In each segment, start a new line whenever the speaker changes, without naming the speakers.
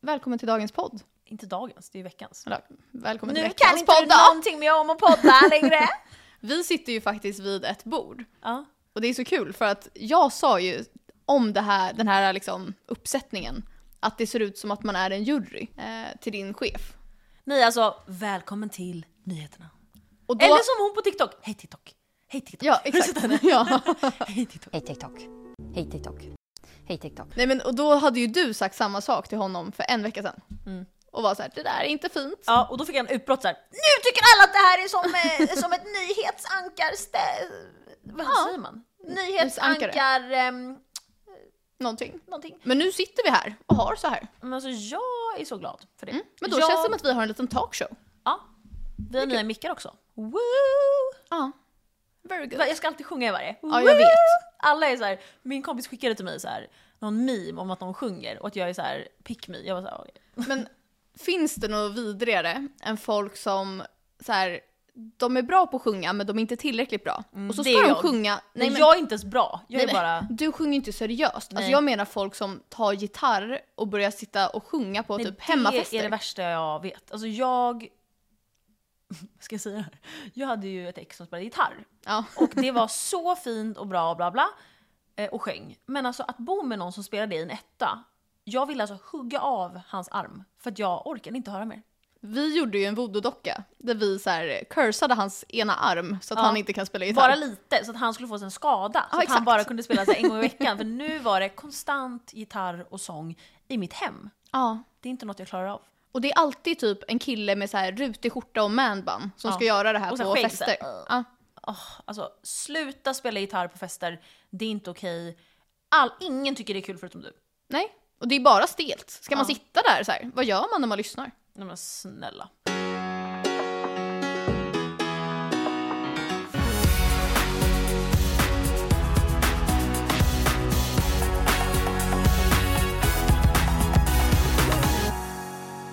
Välkommen till dagens podd.
Inte dagens, det är ju veckans.
Eller, välkommen till
Nu kan
veckans
inte
podd
du
då.
någonting mer om att podda längre.
Vi sitter ju faktiskt vid ett bord.
ja.
Och det är så kul för att jag sa ju om det här, den här liksom uppsättningen att det ser ut som att man är en jury eh, till din chef.
Ni alltså, välkommen till nyheterna.
Och då,
Eller som hon på TikTok, hej TikTok. Hej TikTok.
Ja,
Har du sett henne?
exakt. Ja.
Hej TikTok.
Hej TikTok. Hej TikTok. Hej TikTok.
Nej men och då hade ju du sagt samma sak till honom för en vecka sedan.
Mm.
Och var så här, det där är inte fint.
Ja, och då fick jag en utbrott såhär.
Nu tycker alla att det här är som, eh, som ett nyhetsankarställ.
Vad säger man?
Nyhetsankar... ehm,
Någonting.
någonting.
Men nu sitter vi här och har så här.
Men alltså jag är så glad för det.
Mm, Men då
jag...
känns det som att vi har en liten talkshow.
Ja. Vi har nya mickar också. Woo!
Ja. Very good.
Jag ska alltid sjunga i varje.
Ja jag vet.
Alla är så här, min kompis skickade till mig så här, någon meme om att de sjunger och att jag är så här, pick me. Jag var så här, okej.
Men finns det något vidrigare än folk som så här, de är bra på att sjunga men de är inte tillräckligt bra. och så
Mm. det
ska de
är jag.
sjunga, nej
Nej,
men,
jag är inte ens bra. Jag
nej,
är
men,
bara...
du sjunger inte seriöst. Alltså
Nej.
jag menar folk som tar gitarr och börjar sitta och sjunga på
Nej,
typ hemmafester.
Det är det värsta jag vet. Alltså jag... Vad ska jag säga? det här? Jag hade ju ett ex som spelade gitarr.
ja.
Och det var så fint och bra och bla bla. eh, Och sjöng. Men alltså att bo med någon som spelade i en etta. Jag ville alltså hugga av hans arm. För att jag orkade inte höra mer.
Vi gjorde ju en voodoo-docka där vi så här cursade hans ena arm så att
Ja.
han inte kan spela gitarr.
Bara lite så att han skulle få sig en skada.
Ja,
Så att han
exakt.
bara kunde spela så här en gång i veckan. För nu var det konstant gitarr och sång i mitt hem.
Ja.
Det är inte något jag klarar av.
Och det är alltid typ en kille med så här rutig skjorta och manband som
Ja.
ska göra det här
Och så
på
skägg
fester.
så här.
Ja.
Åh, alltså sluta spela gitarr på fester, det är inte okej. All, ingen tycker det är kul förutom du.
Nej, och det är bara stelt. Ska man
Ja.
sitta där så här? Vad gör man när man lyssnar?
Nej men snälla.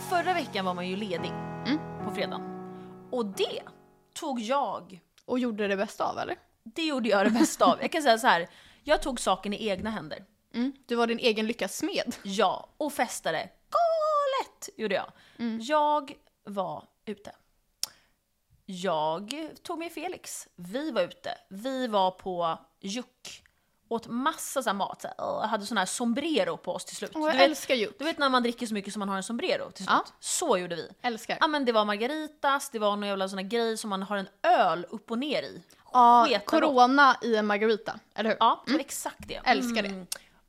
Förra veckan var man ju ledig på fredagen. Och det tog jag
Och gjorde det bästa av eller?
det gjorde jag det bästa av. Jag kan säga så här. jag tog saken i egna händer.
Mm. Du var din egen lyckas smed.
Ja, och festade galet gjorde jag.
Mm.
Jag var ute. Jag tog med Felix. Vi var ute. Vi var på Juck. Åt massa så här mat. Så här, åh, Jag hade sån här sombrero på oss till slut.
Åh, jag
du, vet,
älskar ju.
du vet när man dricker så mycket som man har en sombrero till slut?
Ja.
Så gjorde vi.
Älskar.
Ja men det var margaritas, det var någon jävla sån här grej som man har en öl upp och ner i.
Ja,
Sketgott.
corona i en margarita, eller hur?
Ja, det var exakt det.
Mm.
Mm.
Älskar det.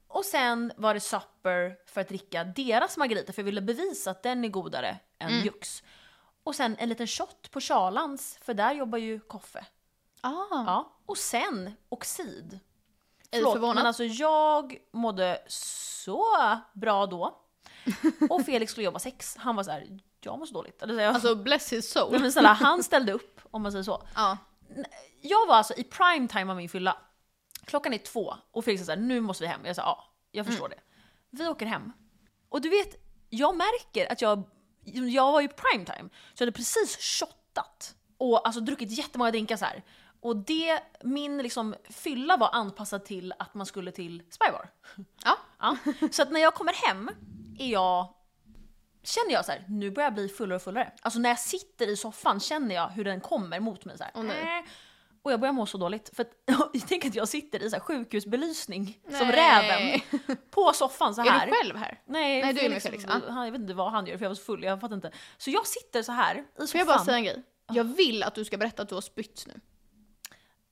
Och sen var det supper för att dricka deras margarita för jag ville bevisa att den är godare än
Mm.
Jux. Och sen en liten shot på Charlans för där jobbar ju Koffe.
Ah,
Ja. Och sen Oxid.
ej
Förlåt,
förvånad.
men alltså jag mådde så bra då. Och Felix skulle jobba sex. Han var så här, jag mår så dåligt. Eller så, jag,
Alltså bless his soul.
men snälla, han ställde upp om man säger så.
Ja.
Jag var alltså i prime time av min fylla. Klockan är två och Felix säger nu måste vi hem. Jag sa ja, jag förstår det. Vi åker hem. Och du vet, jag märker att jag, jag var i prime time. Så jag hade precis shottat och alltså druckit jättemånga drinkar så här. Och det, min liksom fylla var anpassad till att man skulle till spybar.
ja.
Ja. Så att när jag kommer hem är jag, känner jag så här, nu börjar jag bli fullare och fullare. Alltså när jag sitter i soffan känner jag hur den kommer mot mig. Så här.
Åh, nej.
Äh. och jag börjar må så dåligt. För att, tänk att jag sitter i så här sjukhusbelysning som
Nej.
räven på soffan så här.
Är du själv här?
Nej,
Nej, du är med
Felix,
Felix, Ah.
Han, jag vet inte vad han gör för jag var så full, jag fattar inte. Så jag sitter så här i
Får
soffan.
jag bara säga en grej? Jag vill att du ska berätta att du har spytt nu.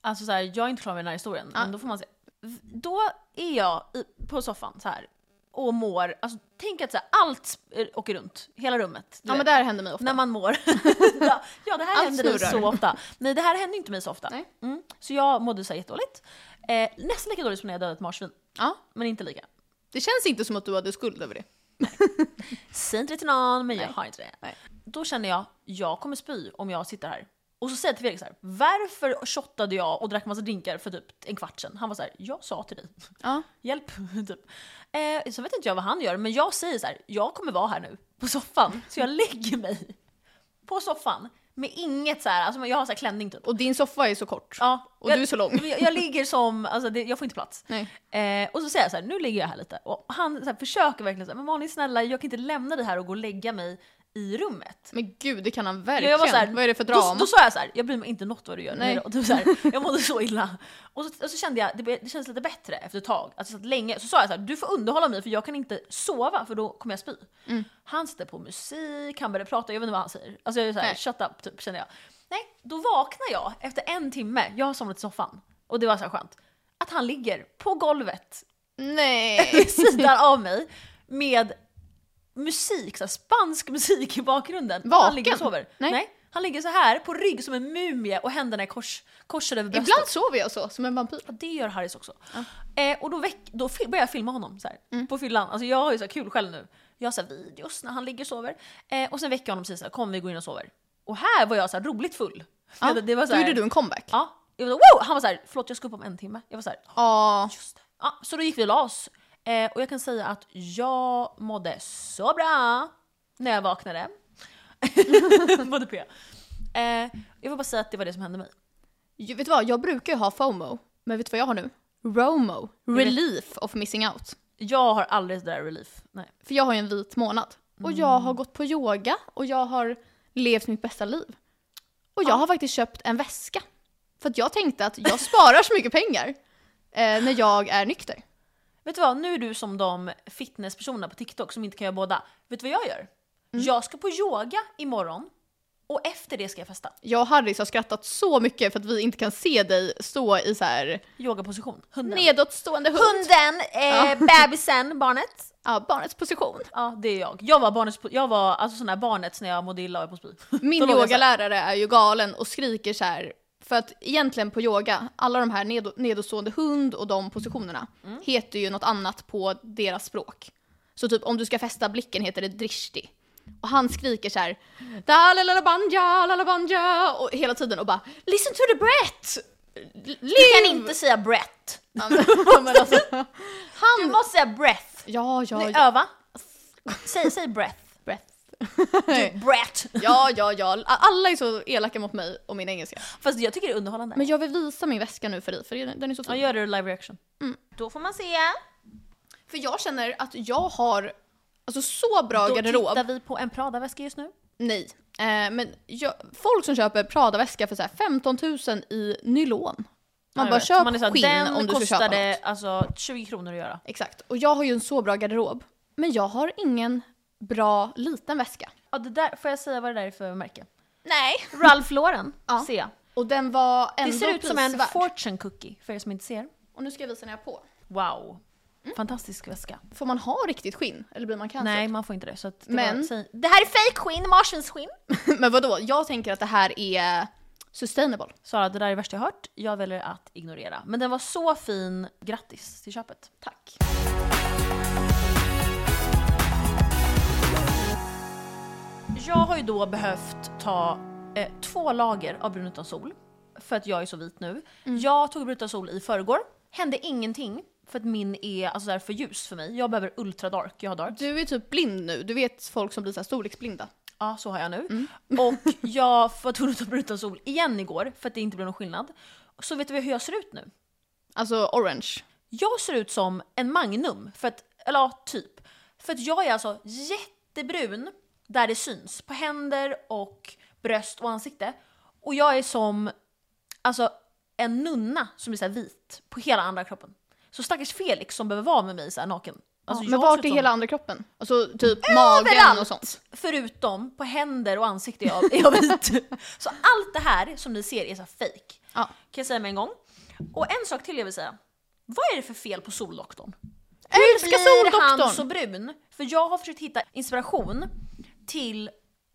Alltså så här, jag är inte klar med den här historien, men då får man se. V- Då är jag i, på soffan så här och mår, alltså tänk att så här, allt sp- eh, åker runt, hela rummet. du
Ja
vet.
men det här händer mig ofta.
När man mår. ja, ja, det här
Allt
händer dig
snurrar.
så ofta. Nej, det här händer inte mig så ofta.
Nej.
Mm. Så jag mådde så här jättedåligt. Eh, nästan lika dåligt som när jag dödade ett marsvin,
Ja.
men inte lika.
Det känns inte som att du hade skuld över det.
Säg inte det till någon, men jag
Nej.
har inte det.
Nej.
Då känner jag, jag kommer spy om jag sitter här. Och så säger jag till Felix så här, varför shottade jag och drack massa drinkar för typ en kvart sedan? Han var så här, jag sa till dig.
Ja.
hjälp. Typ. Eh, så vet inte jag vad han gör, men jag säger så här, jag kommer vara här nu på soffan. Så jag lägger mig på soffan med inget så här, alltså jag har så här klänning typ.
Och din soffa är så kort.
Ja,
Och du är så lång.
Jag, jag ligger som, alltså det, jag får inte plats.
Nej.
Eh, och så säger jag så här, nu ligger jag här lite. Och han så här, försöker verkligen säga, men Malin snälla jag kan inte lämna dig här och gå och lägga mig i rummet.
Men gud, det kan han
Ja,
verkligen.
jag var så här,
Vad är det för
Då,
drama?
då sa jag så här, jag bryr mig inte något vad du gör.
Nej.
Nej. Och typ så här, jag mådde så illa. Och så, och så kände jag, det, blev- det kändes lite bättre efter ett tag. Alltså, så länge. Så sa jag så här, du får underhålla mig för jag kan inte sova för då kommer jag spy.
Mm.
Han sätter på musik, han börjar prata, jag vet inte vad han säger. Alltså jag är så här,
Nej.
shut up typ känner jag. Nej, då vaknar jag efter en timme, jag har somnat i soffan. Och det var så här skönt. Att han ligger på golvet
Nej.
vid sidan av mig med musik, så här spansk musik i bakgrunden. Och Han
Vaken?
ligger och sover.
Nej.
Han ligger så här på rygg som en mumie och händerna är kors, korsade över bröstet.
Ibland sover jag så, som en vampyr.
Ja, Det gör Harris också. Eh, och då, väck, då fi- börjar jag filma honom så här,
Mm.
på fyllan. Alltså jag har ju så här kul själv nu. Jag har så här videos när han ligger och sover. Eh, och sen väcker jag honom precis så här, kom vi går in och sover. Och här var jag så här roligt full.
Ja,
det var så
Då
här,
gjorde du en comeback.
Ja. Jag var, så, wow! Han var så här, förlåt jag ska upp om en timme. Jag var så här,
Ja.
Just det. Ja, så då gick vi och la oss. Eh, och jag kan säga att jag mådde så bra när jag vaknade. mådde P. Eh, jag vill bara säga att det var det som hände mig.
Ju- Vet du vad, jag brukar ju ha FOMO. Men vet du vad jag har nu? ROMO. Relief of missing out.
Jag har aldrig det där relief. Nej.
För jag har ju en vit månad. Och jag har gått på yoga och jag har levt mitt bästa liv. Och jag har faktiskt köpt en väska. För att jag tänkte att jag sparar så mycket pengar eh, när jag är nykter.
Vet du vad, nu är du som de fitnesspersonerna på TikTok som inte kan göra båda. Vet du vad jag gör? Jag ska på yoga imorgon och efter det ska jag festa.
Jag och Harris har skrattat så mycket för att vi inte kan se dig stå i så här
Yogaposition. Hunden.
nedåtstående hund.
Hunden, eh, bebisen, barnet.
Ja, barnets position.
Ja, det är jag. Jag var, barnets, jag var alltså sån här barnet när jag mådde illa och jag på spy. Då
Min
låg jag så här.
yogalärare är ju galen och skriker så här. För att egentligen på yoga, alla de här ned- nedåtstående hund och de positionerna heter ju något annat på deras språk. Så typ om du ska fästa blicken heter det drishti. Och han skriker så här "Da la la la banja, la la banja" och hela tiden och bara “listen to the breath”.
Du
Liv!
kan inte säga breath.
Ja, men- men alltså,
Du
han...
måste säga breath.
Ja, ja,
Nu,
ja.
öva. Säg, säg breath.
Breath.
Breath.
Ja, ja, ja. Alla är så elaka mot mig och min engelska.
Fast jag tycker det är underhållande.
Men jag vill visa min väska nu för dig, för den är så fin.
Ja, gör det live reaction.
Mm.
Då får man se.
För jag känner att jag har alltså, så bra
Då
garderob.
tittar vi på en Prada-väska just nu.
Nej. Eh, men jag, folk som köper Prada-väska för så här 15 000 i nylon. Man
Ja, jag
bara
vet.
köp
Man är så här,
skinn
Den
om du ska köpa
kostade
något.
alltså 20 kronor att göra.
Exakt. Och jag har ju en så bra garderob. Men jag har ingen bra liten väska.
Ja, det där, får jag säga vad det där är för märke?
Nej.
Ralph Lauren
Ja.
ser jag.
Och den var
Det
ändå
ser ut som en
prisvärd.
fortune cookie för er som inte ser.
Och nu ska jag visa när jag har på.
Wow.
Mm.
Fantastisk väska.
Får man ha riktigt skinn? Eller blir man cancer?
Nej, man får inte det. Så att det,
Alltså. Men-
var, säg- det här är fake skinn, marsvinskinn.
men vadå? Jag tänker att det här är sustainable.
Sara, det där är det värsta jag hört. Jag väljer att ignorera. Men den var så fin. Grattis till köpet.
Tack.
Jag har ju då behövt ta eh, två lager av brun utan sol. För att jag är så vit nu.
Mm.
Jag tog brun utan sol i förrgår. Hände ingenting. För att min är alltså, så här för ljus för mig. Jag behöver ultra dark. Jag har dark.
Du är typ blind nu. Du vet folk som blir så här storleksblinda.
Ja, så har jag nu.
Mm.
Och jag var tvungen att ta brun utan sol igen igår. För att det inte blev någon skillnad. Så vet du hur jag ser ut nu?
Alltså orange.
Jag ser ut som en Magnum, för att, eller ja, typ. För att jag är alltså jättebrun där det syns, på händer och bröst och ansikte. Och jag är som alltså, en nunna som är så här vit på hela andra kroppen. Så stackars Felix som behöver vara med mig så här naken. Alltså,
men
jag
vart
ser ut
är
som-
hela andra kroppen? Alltså typ magen och
Överallt!
sånt.
Förutom på händer och ansikte är jag, är jag vit. Så allt det här som ni ser är så här fake.
Ja.
Kan jag säga med en gång. Och en sak till jag vill säga. Vad är det för fel på Soldoktorn?
Älskar
blir han
Soldoktorn!
så brun? För jag har försökt hitta inspiration till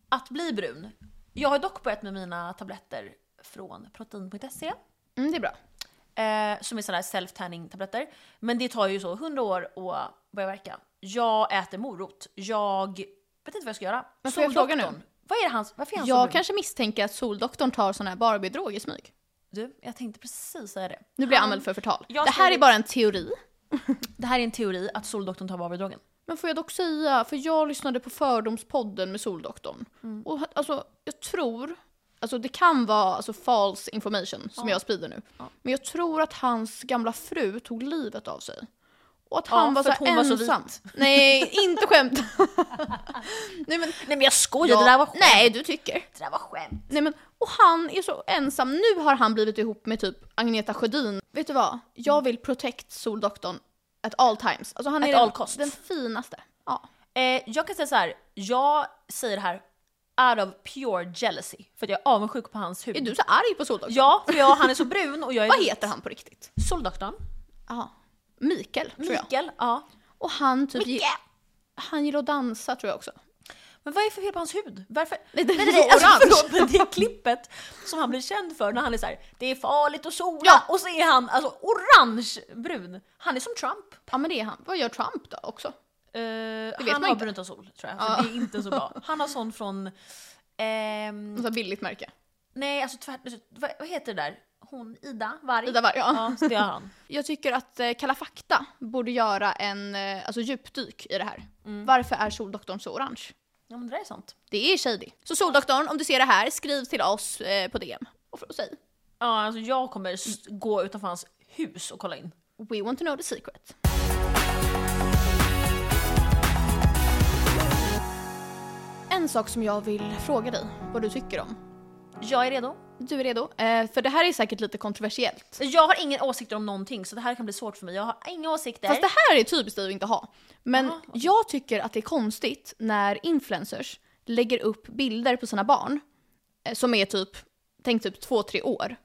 att bli brun. Jag har dock börjat med mina tabletter från protein.se.
Mm, det är bra.
Eh, som är sådana här self-tanning tabletter. Men det tar ju så 100 år att börja verka. Jag äter morot. Jag vet inte vad jag ska göra.
Men får jag fråga
Soldoktorn.
nu?
Vad är det han, varför är han så
Jag
brun?
kanske misstänker att Soldoktorn tar sån här Barbie-drog i smyg.
Du, jag tänkte precis säga det.
Nu blir jag
Han-
anmäld för förtal.
Jag
Det här
skriver-
är bara en teori.
Det här är en teori att Soldoktorn tar Barbie-drogen.
Men får jag dock
Mm.
säga, för jag lyssnade på Fördomspodden med Soldoktorn. Och alltså, jag tror alltså det kan vara alltså false information som jag sprider nu. Men jag tror att hans gamla fru tog livet av sig. Och att
Ja,
han var
för
så
att
här
hon var så
ensam.
vit.
Nej, inte skämt. Nej men,
Nej men jag skojar, det där var skönt.
Nej, du tycker.
Det där var skämt.
Nej men, och han är så ensam. Nu har han blivit ihop med typ Agneta Sjödin. Vet du vad? Jag vill protect Soldoktorn at all times. Alltså han
At
är
all
den,
costs.
den finaste. Ja.
Eh, jag kan säga så här. jag säger det här out of pure jealousy. För att jag är avundsjuk på hans hud.
Är du så arg på Soldoktorn?
Ja, för jag, han är så brun och jag är
Vad heter han på riktigt?
Soldoktorn.
Ja. Mikael, tror jag.
Mikael, ja.
Och han typ...
Micke!
gi- Han gillar att dansa tror jag också.
Men vad är det för fel på hans hud? Varför?
Nej, den är
nej, alltså,
orange.
förlåt, men det är klippet som han blir känd för när han är så här. det är farligt att sola
Ja.
och så är han alltså orangebrun. Han är som Trump.
Ja men det är han. Vad gör Trump då också?
Eh,
vet
han
man
har
inte.
brunt av sol tror jag, så det är inte så bra. Han har sån från, ehm,
Något sånt här billigt märke.
nej alltså tvärt, vad, vad heter det där? Hon, Ida Varg?
Ida Varg, ja.
Ja, så det har han.
Jag tycker att eh, Kalla fakta borde göra en eh, alltså, djupdyk i det här. Varför är Soldoktorn så orange?
Ja men det där är sant.
Det är shady. Så Soldoktorn, om du ser det här, skriv till oss eh, på DM. Och fr- och säg
Ja alltså jag kommer s- gå utanför hans hus och kolla in.
“We want to know the secret”. En sak som jag vill fråga dig, vad du tycker om.
Jag är redo.
Du är redo? Eh, för det här är säkert lite kontroversiellt.
Jag har inga åsikter om någonting så det här kan bli svårt för mig. Jag har inga åsikter.
Fast det här är typiskt dig att inte ha. Men
Jaha, okej.
jag tycker att det är konstigt när influencers lägger upp bilder på sina barn eh, som är typ, tänk typ två, tre år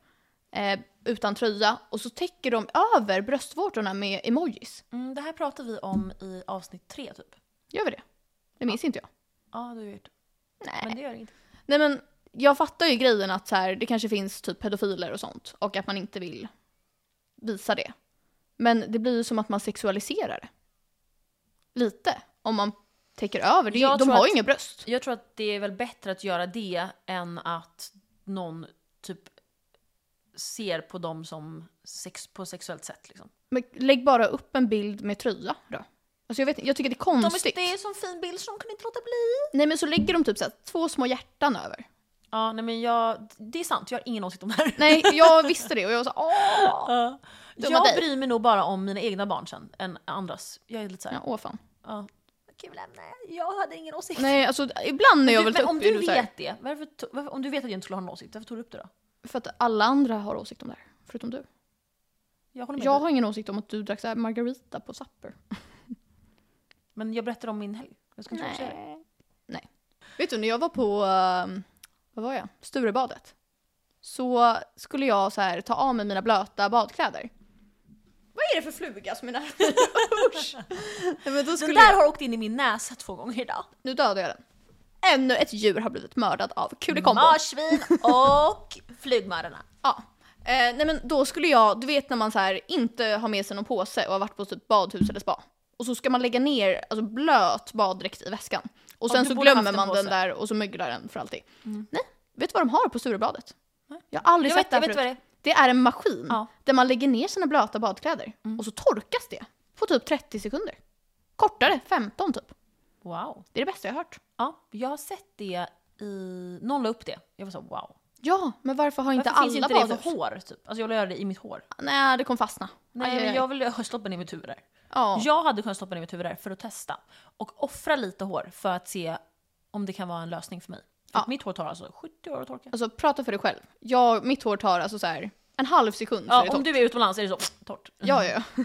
eh, utan tröja och så täcker de över bröstvårtorna med emojis.
Mm, det här pratar vi om i avsnitt tre typ.
Gör vi det? Det minns inte jag.
Ja, du vet.
Nej.
Men det gör inget.
Nej men jag fattar ju grejen att så här, det kanske finns typ pedofiler och sånt och att man inte vill visa det. Men det blir ju som att man sexualiserar det. Lite. Om man täcker över. Det, är ju-
Jag
de
tror
har ju
att-
inga bröst.
Jag tror att det är väl bättre att göra det än att någon typ ser på dem som sex, på sexuellt sätt. Liksom.
Men lägg bara upp en bild med tröja då. Alltså jag, vet, inte, jag tycker det är
De
konstigt.
är, det är en sån fin bild som de kunde inte låta bli.
Nej men så lägger de typ så här, två små hjärtan över.
Ja, nej men jag, det är sant. Jag har ingen åsikt om det här.
Nej jag visste det och jag var så här, åh!
Ja.
Det var
jag
dig.
bryr mig nog bara om mina egna barn sen, än andras. Jag är lite såhär,
Ja,
ja.
åh fan.
Kul ämne,
eh,
jag hade ingen åsikt.
Nej alltså ibland när jag
du,
vill
men
ta
om
upp är
du
det så här,
vet det, varför, to- varför, om du vet att jag inte skulle ha någon åsikt, varför tog du upp det då?
för att alla andra har åsikt om det här. Förutom du.
Jag håller med
Jag
dig.
har ingen åsikt om att du drack så här margarita på Supper.
Men jag berättar om min helg. Jag ska inte Nej. säga det.
Nej. Vet du, när jag var på, eh, vad var jag, Sturebadet. Så skulle jag så här ta av mig mina blöta badkläder. Vad är det för fluga som är nära? Usch! Nej, men då
Den
skulle
där
jag,
har åkt in i min näsa två gånger idag.
nu dödade jag den. Ännu ett djur har blivit mördat av kulikombo.
Marsvin och flygmördarna.
Ja. Eh, nej men då skulle jag, du vet när man så här inte har med sig någon påse och har varit på typ badhus eller spa. Och så ska man lägga ner alltså blöt baddräkt i väskan. Och
Ja,
sen
du
så
borde
glömmer
haft en
man den
påse. Mm.
där och så möglar den för alltid. Nej, vet du vad de har på Sturebadet?
Nej.
Jag har aldrig
Jag
sett
vet,
det
jag
här
vet vad det
förut. Mm.
är.
Det är en maskin
Ja. Mm.
där man lägger ner sina blöta badkläder och så torkas det på typ 30 sekunder. Kortare, 15 typ.
Wow.
Det är det bästa jag har hört.
Ja, jag har sett det i... Någon la upp det. Jag var så wow.
Ja, men varför har inte
Varför
alla
finns inte det
badhus?
för hår? Typ? Alltså jag vill göra det i mitt hår.
Nej, det kom fastna.
Nej,
Aj, aj,
men
aj.
jag vill stoppa ner mitt huvud där.
ja.
Jag hade kunnat stoppa ner mitt huvud där för att testa. Och offra lite hår för att se om det kan vara en lösning för mig. För
Ja.
att mitt hår tar alltså 70 år att torka.
Alltså prata för dig själv. Jag, mitt hår tar alltså så här en halv sekund så är det
Ja, om
torrt.
du är utomlands är det så torrt.
Ja, ja, ja.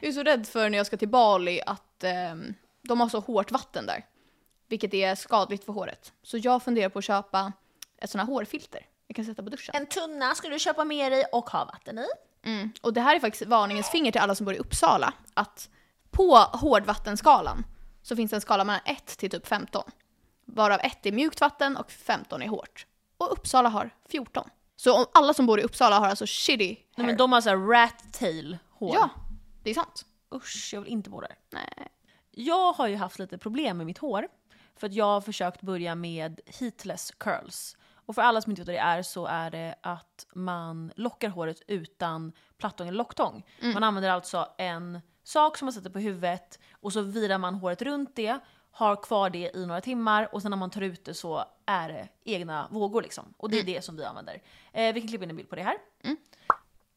jag är så rädd för när jag ska till Bali att ehm, de har så hårt vatten där. Vilket är skadligt för håret. Så jag funderar på att köpa ett sånt här hårfilter. Jag kan sätta på duschen.
En tunna ska du köpa med dig och ha vatten i.
Mm. Och det här är faktiskt varningens finger till alla som bor i Uppsala. Att på hårdvattenskalan så finns det en skala mellan 1 till typ 15. Varav 1 är mjukt vatten och 15 är hårt. Och Uppsala har 14. Så om alla som bor i Uppsala har alltså shitty hair.
Nej, men de har såhär rat tail hår.
Ja, det är sant.
Usch, jag vill inte bo där.
Nej.
Jag har ju haft lite problem med mitt hår. För att jag har försökt börja med heatless curls. Och för alla som inte vet vad det är så är det att man lockar håret utan plattång eller locktång. Man använder alltså en sak som man sätter på huvudet och så virar man håret runt det har kvar det i några timmar och sen när man tar ut det så är det egna vågor liksom. Och det är det som vi använder. Eh, vi kan klippa in en bild på det här.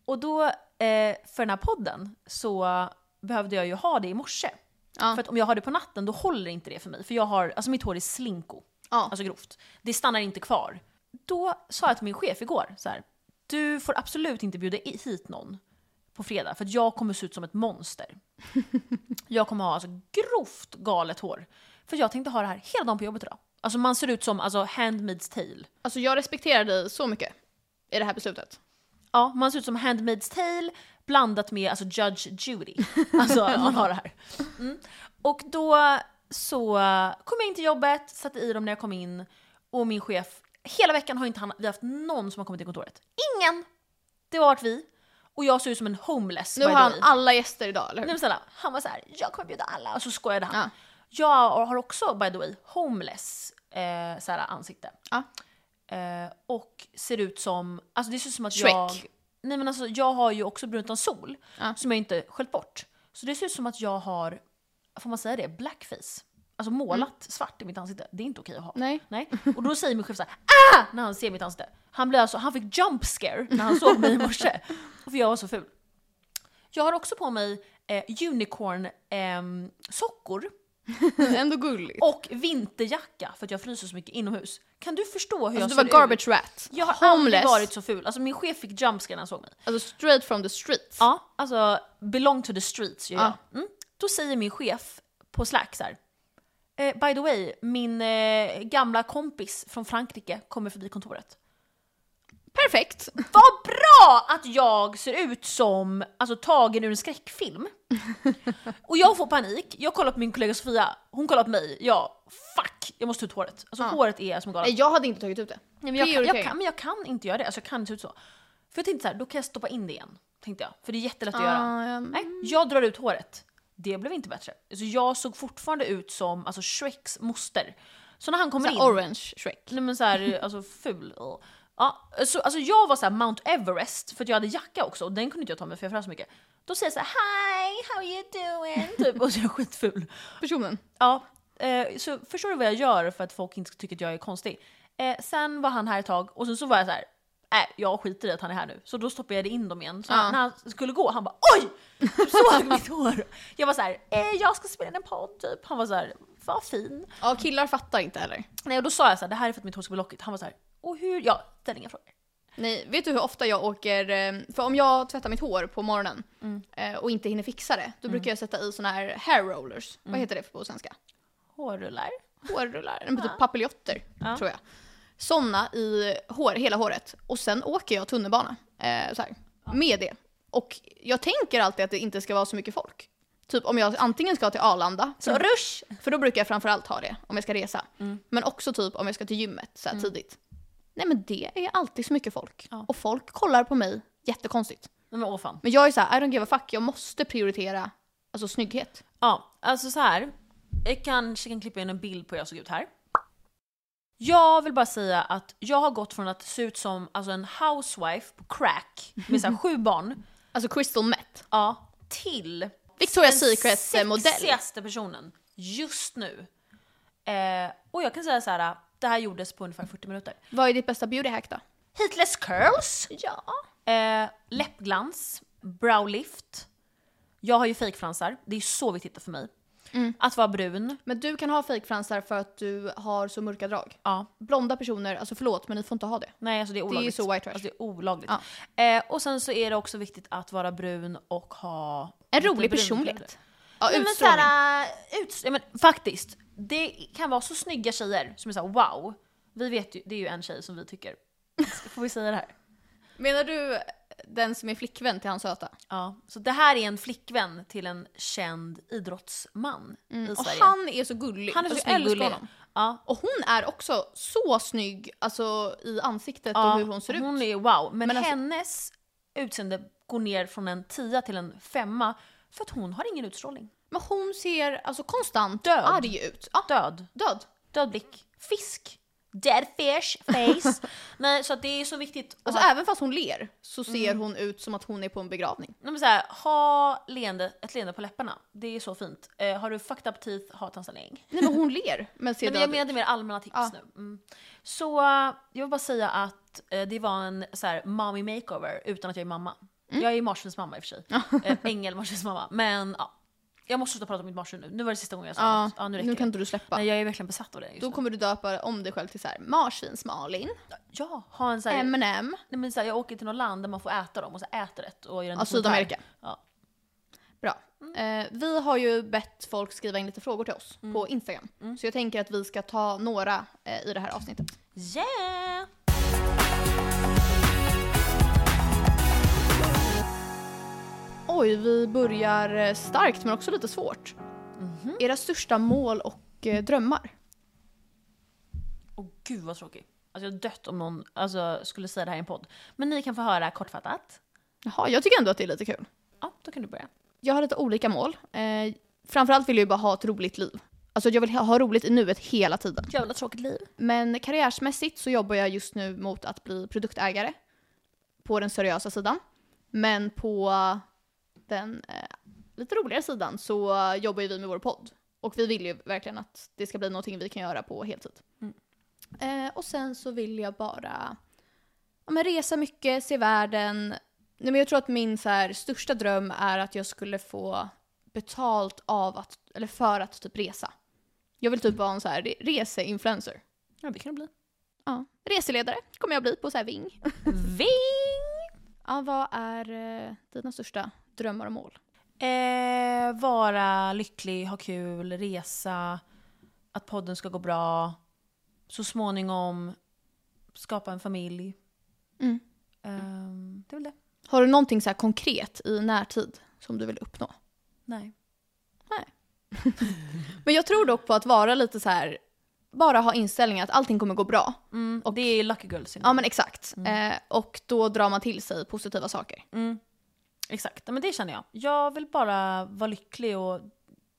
Och då, eh, för den här podden, så behövde jag ju ha det i morse.
Ja.
För att om jag har det på natten då håller inte det för mig. För jag har, alltså mitt hår är slinko.
Ja.
Alltså grovt. Det stannar inte kvar. Då sa jag till min chef igår så här. Du får absolut inte bjuda i- hit någon på fredag för att jag kommer se ut som ett monster. Jag kommer ha alltså grovt galet hår. För jag tänkte ha det här hela dagen på jobbet idag. Alltså man ser ut som alltså Handmaid's Tale.
Alltså jag respekterar dig så mycket i det här beslutet.
Ja, man ser ut som Handmaid's Tale blandat med alltså Judge Judy. Alltså man har det här. Mm. Och då så kom jag in till jobbet, satte i dem när jag kom in och min chef, hela veckan har inte han, vi haft någon som har kommit till kontoret. Ingen! Det har varit vi. Och jag ser ut som en homeless
Nu
by
har
the
han
way.
alla gäster idag, eller
Nej
hur?
men snälla, han var så här, jag kommer bjuda alla. Och så skojade han.
Ja.
Jag har också by the way homeless eh, så här, ansikte.
Ja.
Eh, och ser ut som, alltså det ser ut som att
Shrek.
jag... Nej men alltså jag har ju också brunt utan sol.
Ja.
Som jag inte sköljt bort. Så det ser ut som att jag har, får man säga det, blackface. Alltså målat
Mm.
svart i mitt ansikte. Det är inte okej att ha.
Nej.
Nej. Och då säger min chef såhär ah! när han ser mitt ansikte. Han, blir alltså, han fick jump scare när han såg mig i morse. För jag var så ful. Jag har också på mig eh, unicorn ehm, sockor
Ändå gulligt.
och vinterjacka för att jag fryser så mycket inomhus. Kan du förstå hur
Alltså, du var
jag ser
garbage
ut?
rat.
Jag har aldrig
Homeless.
varit så ful. Alltså min chef fick jump scare när han såg mig.
Alltså straight from the streets.
Ja, alltså belong to the streets gör
Ja.
jag. Mm. Då säger min chef på slack så här. Eh, by the way, min eh, gamla kompis från Frankrike kommer förbi kontoret.
Perfekt!
Vad bra att jag ser ut som alltså, tagen ur en skräckfilm. Och jag får panik, jag kollar på min kollega Sofia, hon kollar på mig, jag fuck, jag måste ta ut håret. Alltså håret är som galet.
Nej, jag hade inte tagit ut det.
Nej, men, jag kan, jag
Prioritering.
kan, men jag kan inte göra det, alltså, jag kan inte se ut så. För jag tänkte så här, då kan jag stoppa in det igen. Tänkte jag, för det är jättelätt att göra.
Ah, ja,
Nej, jag drar ut håret. Det blev inte bättre. Alltså, jag såg fortfarande ut som alltså, Shreks moster. Så när han kommer in...
Såhär orange Shrek.
Nej men såhär, alltså ful. Ugh. Ja, så, alltså jag var såhär Mount Everest för att jag hade jacka också och den kunde inte jag ta med för jag frös så mycket. Då säger jag såhär hi, how you doing? Typ, och så är jag skitful.
Personen.
Ja, eh, så förstår du vad jag gör för att folk inte ska tycka att jag är konstig? Eh, sen var han här ett tag och sen så var jag så här. Äh, jag skiter i att han är här nu. Så då stoppade jag det in dem igen. Så
Ja.
han, när han skulle gå, han bara OJ! Du såg mitt hår! Jag var så här, eh, jag ska spela in en podd typ. Han var så här, vad fin.
Ja, killar fattar inte heller.
Nej och då sa jag så här, det här är för att mitt hår ska bli lockigt. Han var så här, och hur? Ja, ställ inga frågor.
Nej, vet du hur ofta jag åker, eh, för om jag tvättar mitt hår på morgonen eh, och inte hinner fixa det, då brukar jag sätta i såna här hair rollers. Vad heter det på svenska?
Hårrullar.
Hårrullar, en typ papiljotter tror jag. Såna i hår, hela håret. Och sen åker jag tunnelbana eh, så här, med det. Och jag tänker alltid att det inte ska vara så mycket folk. Typ om jag antingen ska till Arlanda,
Så
för,
rush!
för då brukar jag framförallt ha det om jag ska resa. Men också typ om jag ska till gymmet så här tidigt. Nej men det är alltid så mycket folk.
Ja.
Och folk kollar på mig jättekonstigt.
Nej men åh fan.
Men jag är så här, I don't give a fuck, jag måste prioritera alltså, snygghet.
Ja, alltså så här. Jag kanske kan klippa in en bild på hur jag såg ut här. Jag vill bara säga att jag har gått från att se ut som alltså, en housewife på crack med så här, sju barn,
Alltså crystal meth.
ja, till
Victoria's
den
Secrets eh, modell.
sexigaste personen just nu. Eh, och jag kan säga så här, det här gjordes på ungefär 40 minuter.
Vad är ditt bästa beauty hack då?
Heatless curls,
Ja.
eh, läppglans, browlift. Jag har ju fejkfransar, det är så viktigt för mig.
Mm.
Att vara brun,
Men du kan ha fejkfransar för att du har så mörka drag.
ja.
Blonda personer, alltså förlåt men ni får inte ha det.
Nej, alltså det är
är
olagligt.
ju så white trash.
Alltså det är olagligt. Eh, och sen så är det också viktigt att vara brun och ha...
En
lite
rolig
brun
personlighet.
hud.
Ja, eh,
Nej, men
utstrålning.
såhär, ut, ja, men faktiskt. Det kan vara så snygga tjejer som är såhär wow. Vi vet ju, det är ju en tjej som vi tycker. Får vi säga det här?
Menar du den som är flickvän till hans söta?
Ja. Så det här är en flickvän till en känd idrottsman i
Mm. Och
Sverige.
han är så gullig.
Han är så
Alltså, jag
snygg och
älskar
gullig.
honom.
Ja.
Och hon är också så snygg alltså, i ansiktet
Ja,
och hur hon ser
Hon
ut.
är wow. Men,
Men alltså-
hennes utseende går ner från en tia till en femma för att hon har ingen utstrålning.
Men hon ser alltså konstant
Död.
arg ut. Ja,
Död.
död.
Död blick. Fisk. dead fish face. Nej, så att det är så viktigt att
Alltså
ha,
även fast hon ler så ser
Mm.
hon ut som att hon är på en begravning.
Nej, men så här, ha leende, ett leende på läpparna. Det är så fint. Eh, har du fucked up teeth, ha tandställning.
Nej men hon ler men ser
Nej, men
död
jag
ut.
menade mer allmänna tips
Ja.
nu. Mm. Så eh, jag vill bara säga att eh, det var en så här, mommy makeover utan att jag är mamma.
Mm.
Jag är ju marsvinsmamma i och för sig. eh, Ängel-marsvinsmamma. Men ja, jag måste sluta prata om mitt marsvin nu. Nu var det sista gången jag sa
Ja,
något. Ja, nu räcker
nu kan
det.
inte du släppa.
Nej, jag är verkligen besatt av det just
Då
nu.
kommer du döpa om dig själv till så här marsvins-Malin,
Ja, ha en så här,
M&M,
nej, men så här, jag åker till något land där man får äta dem och så äter rätt och gör en
ja,
dokumentär.
Sydamerika.
Ja.
Bra. Eh, vi har ju bett folk skriva in lite frågor till oss
Mm.
på Instagram. Så jag tänker att vi ska ta några eh, i det här avsnittet.
Yeah!
Oj, vi börjar eh, starkt men också lite svårt.
Mm.
Era största mål och eh, drömmar?
Åh gud vad tråkigt. Alltså jag hade dött om någon alltså, skulle säga det här i en podd. Men ni kan få höra kortfattat.
Jaha, jag tycker ändå att det är lite kul.
Ja, då kan du börja.
Jag har lite olika mål. Eh, framförallt vill jag ju bara ha ett roligt liv. Alltså jag vill ha, ha roligt i nuet hela tiden.
Jävla tråkigt liv.
Men karriärsmässigt så jobbar jag just nu mot att bli produktägare på den seriösa sidan. Men på den eh, lite roligare sidan så eh, jobbar ju vi med vår podd. Och vi vill ju verkligen att det ska bli någonting vi kan göra på heltid. Eh, och sen så vill jag bara ja, men resa mycket, se världen. Nej, men jag tror att min så här, största dröm är att jag skulle få betalt av att, eller för att typ resa. Jag vill typ vara en så här re- reseinfluencer.
Ja, det kan det bli.
Ja. Reseledare kommer jag bli på så här Ving.
Ving!
Ja, vad är eh, dina största drömmar och mål?
Eh, vara lycklig, ha kul, resa, att podden ska gå bra. Så småningom skapa en familj.
Mm.
Ehm, det är väl det.
Har du någonting så här konkret i närtid som du vill uppnå?
Nej.
Men jag tror dock på att vara lite så här bara ha inställningen att allting kommer gå bra.
Mm, och det är Lucky Girl syndrome.
Ja men exakt. Eh, och då drar man till sig positiva saker.
Mm. Exakt, Ja, men det känner jag. Jag vill bara vara lycklig och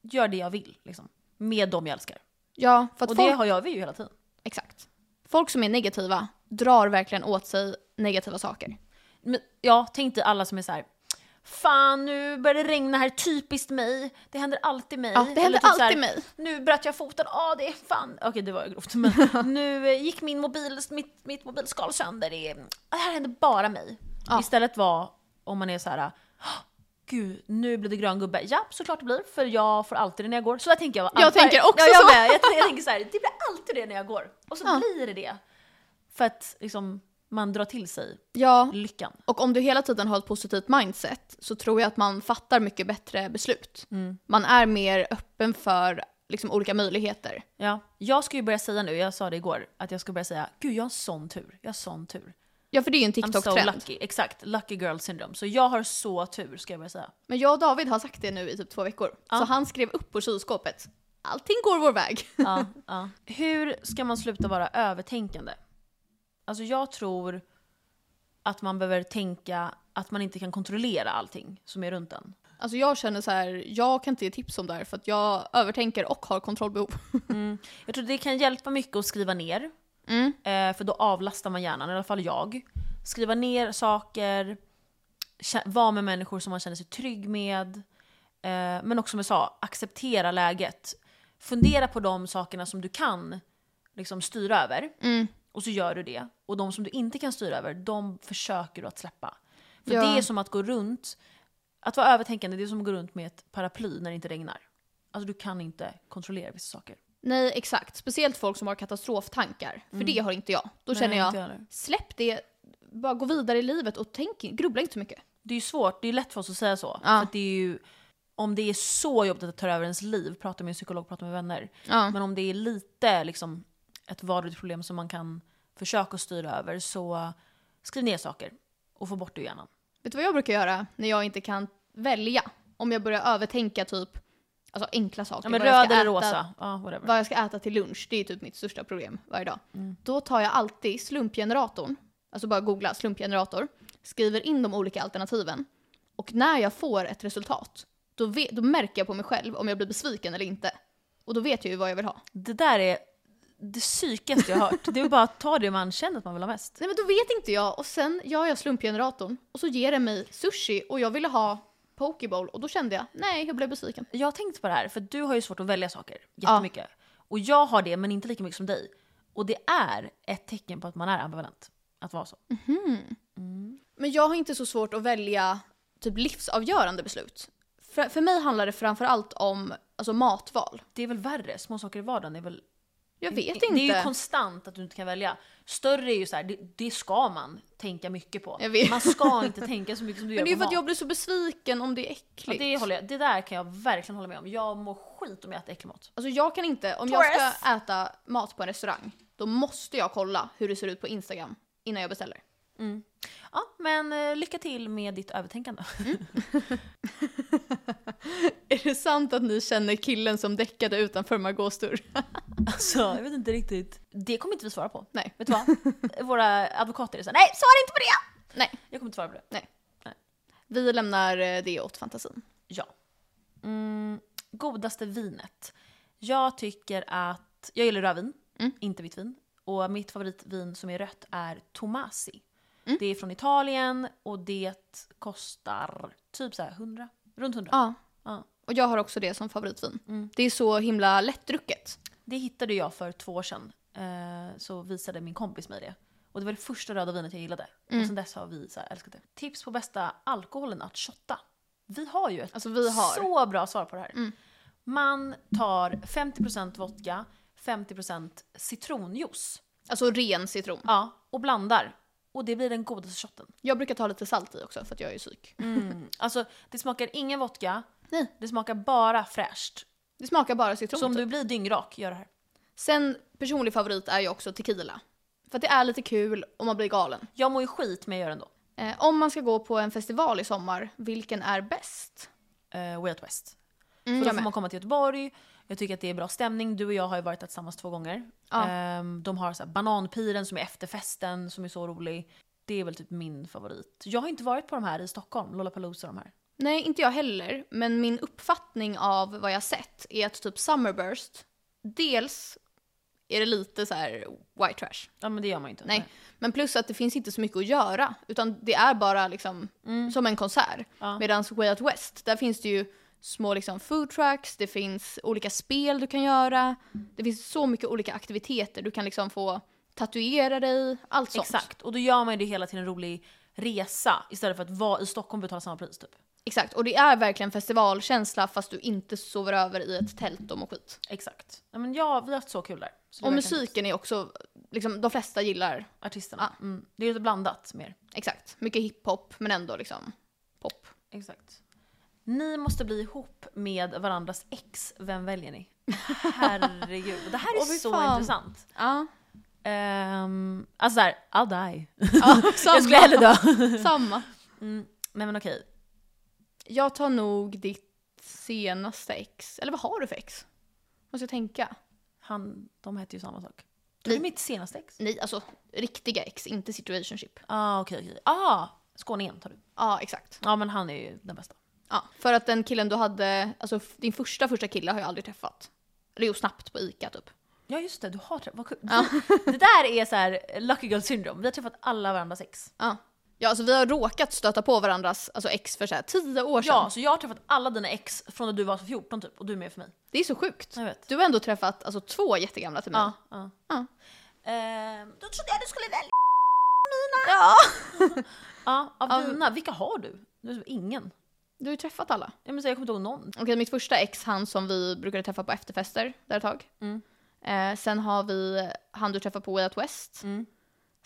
göra det jag vill. Liksom. Med dem jag älskar.
Ja, för att
Och
folk,
det har jag vi ju hela tiden.
exakt. folk som är negativa drar verkligen åt sig negativa saker.
Men, ja, tänk dig alla som är så här. Fan, nu börjar det regna här, typiskt mig. Det händer alltid mig.
Ja, det
Eller
händer
typ så här,
alltid mig.
Nu bröt jag foten, ah det är fan... Okej det var grovt men nu eh, gick min mobil, mitt, mitt mobilskal sönder. Det, är- det här hände bara mig.
Ja.
Istället var om man är så här. "Ah, Gud, nu blir det grön gubbe. Ja, såklart det blir, för jag får alltid det när jag går. Så där tänker jag.
Jag tänker också
ja, jag
så.
Med. Jag, jag tänker så här, det blir alltid det när jag går. Och så
Ja.
blir det det. För att liksom, man drar till sig
Ja,
lyckan.
Och om du hela tiden har ett positivt mindset så tror jag att man fattar mycket bättre beslut. Man är mer öppen för liksom, olika möjligheter.
Ja. Jag ska ju börja säga nu, jag sa det igår, att jag ska börja säga “Gud jag har sån tur, jag har sån tur”.
Ja, för det är ju en
I'm so
TikTok-trend.
lucky. Exakt, lucky girl syndrome. Så jag har så tur ska jag börja säga.
Men jag och David har sagt det nu i typ två veckor. Så han skrev upp på kylskåpet. Allting går vår väg.
Ja, ja. Hur ska man sluta vara övertänkande? Alltså jag tror att man behöver tänka att man inte kan kontrollera allting som är runt en.
Alltså jag känner så här, jag kan inte ge tips om det här för att jag övertänker och har kontrollbehov.
Jag tror det kan hjälpa mycket att skriva ner. Eh, för då avlastar man hjärnan, i alla fall jag. Skriva ner saker, kä- vara med människor som man känner sig trygg med. Eh, men också som jag sa, acceptera läget. Fundera på de sakerna som du kan liksom, styra över. Och så gör du det. Och de som du inte kan styra över, de försöker du att släppa. För
Ja.
det är som att gå runt, att vara övertänkande det är som att gå runt med ett paraply när det inte regnar. Alltså du kan inte kontrollera vissa saker.
Nej, exakt. Speciellt folk som har katastroftankar. För det har Mm. inte jag. Då
Nej,
känner jag,
inte jag heller.
släpp det, bara gå vidare i livet och tänk, grubbla inte så mycket.
Det är ju svårt, det är lätt för oss att säga så.
Ja.
För att det är ju, om det är så jobbigt att ta över ens liv, prata med en psykolog, prata med vänner.
Ja.
Men om det är lite liksom, ett vardagligt problem som man kan försöka styra över så skriv ner saker och få bort det ur hjärnan.
Vet du vad jag brukar göra när jag inte kan välja? Om jag börjar övertänka typ alltså enkla saker.
Ja, men
vad jag
röd
ska
eller
äta-
rosa, ja, whatever.
Vad jag ska äta till lunch, det är typ mitt största problem varje dag. Då tar jag alltid slumpgeneratorn, alltså bara googla slumpgenerator, skriver in de olika alternativen och när jag får ett resultat då, ve- då märker jag på mig själv om jag blir besviken eller inte. Och då vet jag ju vad jag vill ha.
Det där är det psykigaste jag har hört. Det är bara att ta det man känner att man vill ha mest.
Nej men då vet inte jag och sen gör jag slumpgeneratorn och så ger den mig sushi och jag ville ha pokeball och då kände jag nej jag blev besviken.
Jag har tänkt på det här, för du har ju svårt att välja saker jättemycket. Och jag har det, men inte lika mycket som dig. Och det är ett tecken på att man är ambivalent. Att vara så.
Mm. Men jag har inte så svårt att välja typ livsavgörande beslut. För, för mig handlar det framförallt om alltså, matval.
Det är väl värre, små saker i vardagen är väl...
Jag vet
Det är ju
inte.
konstant att du inte kan välja. Större är ju så här, det, det ska man tänka mycket på.
Jag vet.
Man ska inte tänka så mycket som du gör
men det är ju
på
för att
mat.
jag blir så besviken om det är
Ja,
äckligt.
det, håller jag, det där kan jag verkligen hålla med om. Jag mår skit om jag äter äcklig mat.
Alltså jag kan inte, om jag ska äta mat på en restaurang, då måste jag kolla hur det ser ut på Instagram innan jag beställer.
Ja, men eh, lycka till med ditt övertänkande.
Är det sant att ni känner killen som däckade utanför Margaux dörr?
Alltså, jag vet inte riktigt. Det kommer inte vi svara på.
Nej.
Vet du vad? Våra advokater är såhär, nej svara inte på det!
Nej,
Jag kommer inte svara på det.
vi lämnar eh, det åt fantasin.
Ja. Mm, godaste vinet. Jag tycker att, jag gillar rödvin,
Mm.
inte vitt vin. Och mitt favoritvin som är rött är Tomasi.
Mm.
Det är från Italien och det kostar typ så här 100, runt 100.
Ja.
Ja. Mm.
Och jag har också det som favoritvin. Det är så himla lättdrucket.
Det hittade jag för två år sedan. Eh, så visade min kompis mig det. Och det var det första röda vinet jag gillade.
Mm.
Och sen dess har vi så här älskat det. Tips på bästa alkoholen att shotta. Vi har ju ett
Alltså, vi har. Mm.
så bra svar på det här. Man tar 50% vodka, 50% citronjuice.
Alltså ren citron.
Ja, och blandar. Och det blir den godaste shotten.
Jag brukar ta lite salt i också för att jag är psyk.
Alltså det smakar ingen vodka,
Mm. Nej.
det smakar bara fräscht.
Det smakar bara citron.
Så om
typ.
du blir dyngrak, gör det här.
Sen personlig favorit är ju också tequila. För att det är lite kul och man blir galen.
Jag mår ju skit men jag gör det ändå.
Eh, om man ska gå på en festival i sommar, vilken är bäst?
Eh, Way Out West.
Mm,
För då
jag
får man
med.
komma till Göteborg, jag tycker att det är bra stämning. Du och jag har ju varit där tillsammans två gånger.
Ja.
Ehm, de har så här bananpiren som är efterfesten som är så rolig. Det är väl typ min favorit. Jag har inte varit på de här i Stockholm, Lollapalooza och de här.
Nej, inte jag heller. Men min uppfattning av vad jag sett är att typ Summerburst, dels är det lite så här white trash.
Ja men det gör man ju inte.
Nej. Men plus att det finns inte så mycket att göra, utan det är bara liksom som en konsert.
Mm. Ja.
Medan Way Out West, där finns det ju små liksom food trucks, det finns olika spel du kan göra. Det finns så mycket olika aktiviteter. Du kan liksom få tatuera dig, allt sånt.
Exakt, och då gör man ju det hela till en rolig resa istället för att vara i Stockholm och betala samma pris typ.
Exakt, och det är verkligen festivalkänsla fast du inte sover över i ett tält och mår skit.
Exakt. Ja, men ja, vi har haft så kul där. Så det är
Och
verkligen
musiken är också, liksom, de flesta gillar,
Artisterna. Mm. Det är lite blandat mer.
exakt, mycket hiphop men ändå liksom pop.
Exakt. Ni måste bli ihop med varandras ex. Vem väljer ni? Herregud. Det här är
Åh, fy
så
fan.
intressant.
Ja,
Um, alltså såhär, I'll die.
samma.
Jag skulle hellre dö.
samma.
Mm, nej men okej.
Jag tar nog ditt senaste ex, eller vad har du för ex? Måste jag tänka.
Han, de hette ju samma sak. Tog du
Nej.
mitt senaste ex? Ja
Nej, alltså riktiga ex, inte situationship. Ja,
ah, okej okej. Ah, skåningen tar du.
exakt.
Ja men han är ju den bästa.
Ja, för att den killen du hade, alltså f- din första första kille har jag aldrig träffat. Eller jo, snabbt på ICA typ.
Ja just det, du har träffat, vad kul. Det där är så här lucky girl syndrome. Vi har träffat alla varandras ex.
Ja. Ja, alltså vi har råkat stöta på varandras alltså ex för så här, tio år sedan.
Ja, så jag har träffat alla dina ex från när du var 14 typ och du är med för mig.
Det är så sjukt.
Jag vet.
Du har ändå träffat alltså, två jättegamla till mig.
Ja. ja.
Ja.
Ehm,
Då trodde jag du skulle välja.
Ja, av
Av-
dina, vilka har du? du har ingen.
Du har ju träffat alla.
Jag, menar, jag kommer inte ihåg någon.
Okej, mitt första ex, han som vi brukade träffa på efterfester där ett tag.
Mm.
Eh, sen har vi han du träffade på Way Out West.
Mm.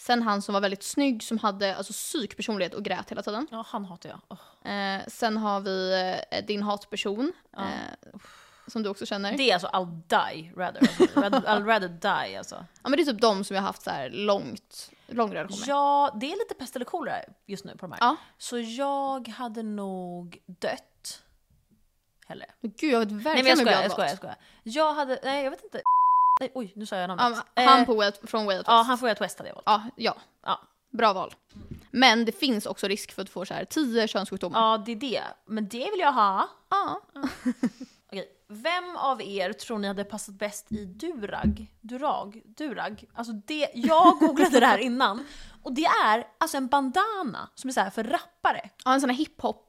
Sen han som var väldigt snygg, som hade alltså, psykpersonlighet och grät hela tiden.
Ja, han hatar jag. Åh.
Eh, sen har vi eh, din hatperson,
Ja.
eh, som du också känner.
Det är alltså I'll die rather. Alltså, I'd, I'll rather die alltså.
Ja, men det är typ de som jag har haft så här långt, lång relation med.
Ja, det är lite pest eller kolera just nu på de här.
Ja.
Så jag hade nog dött. Hellre.
Men Gud, jag vet verkligen
Nej men jag
hur
skojar,
jag
jag skojar,
hade
jag skojar. Jag hade, nej jag vet inte. Nej, oj, nu sa jag namnet.
valt. Ja, han
Eh,
på Way Out, från Way Out West.
ja, han får ett West hade jag valt.
Ja, ja.
Ja.
Bra val. Men det finns också risk för att Mm. få så här tio könssjukdomar.
Ja, det är det. Men det vill jag ha.
Ja.
Okej, Vem av er tror ni hade passat bäst i durag? Durag? Durag? Alltså det, jag googlade det här innan. Och det är alltså en bandana som är så här för rappare.
Ja, en sån här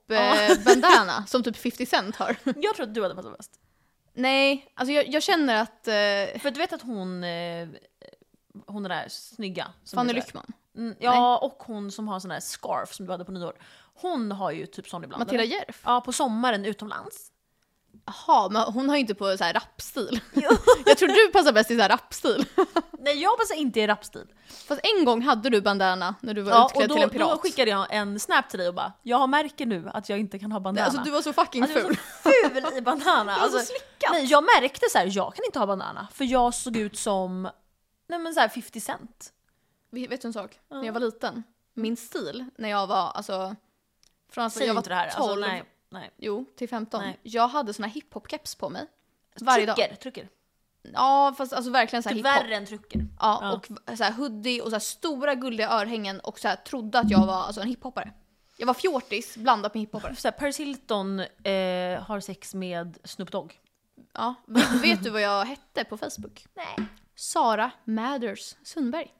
hiphop-bandana som typ 50 Cent har.
Jag tror att du hade passat bäst.
Nej, alltså jag, jag känner att eh,
För du vet att hon, eh, hon är där snygga. som
Fanny
är där-
Lyckman,
Mm, ja, och hon som har sån där scarf som du hade på nyår. Hon har ju typ sån ibland.
Matilda
eller?
Järf.
Ja, på sommaren utomlands.
Jaha, men hon har ju inte på så här rapstil. jag tror du passar bäst i så här rapstil.
Nej, jag passar inte i rapstil.
Fast en gång hade du bandana när du var
Ja, och
utklädd
då,
till en
då
pirat.
skickade jag en snap till dig och bara “Jag märker nu att jag inte kan ha bandana”.
Alltså du var så fucking
Alltså, jag var
ful. Alltså,
så ful i bandana.
var så slickat.
nej, jag märkte så här, jag kan inte ha bandana. För jag såg ut som nej, men så här 50 cent.
Vet vet du en sak? När jag var
Mm.
liten, min stil när jag var alltså... Från alltså
Säg
jag var
inte det här.
12,
Alltså, nej, nej.
jo till 15.
Nej.
Jag hade såna hiphop-keps på mig. Varje dag.
trycker, trycker.
Ja fast alltså verkligen såhär
Typ
hiphop.
värre än trycker.
Ja,
Ja.
och v- så här hoodie och så här stora guldiga örhängen och så här trodde att jag var alltså en hiphoppare. Jag var fjortis blandat med hiphoppare.
Så här, Paris Hilton eh, har sex med Snoop Dogg.
Ja, v- vet du vad jag hette på Facebook?
Nej.
Sara Mathers Sundberg.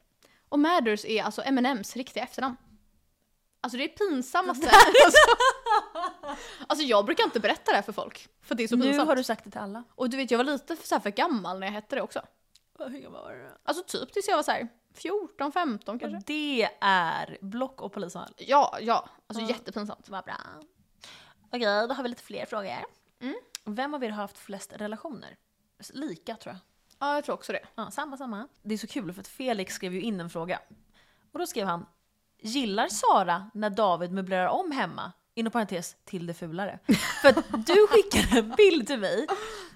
Och Mathers är alltså M&M's riktiga efternamn. Alltså det är pinsammaste. alltså, alltså jag brukar inte berätta det här för folk. För det är så
Nu
pinsamt.
har du sagt det till alla.
Och du vet jag var lite för, så här, för gammal när jag hette det också. Alltså typ tills jag var så här 14, 15 kanske.
Det är Block och polisanmälan.
Ja, ja. Alltså jättepinsamt.
Vad bra. Okej, då har vi lite fler frågor. Mm. Vem av er har haft flest relationer? Lika tror jag.
Ja, jag tror också det.
Ja, samma, samma. Det är så kul för att Felix skrev ju in en fråga. Och då skrev han “Gillar Sara när David möblerar om hemma?” Inom parentes, till det fulare. För att du skickade en bild till mig,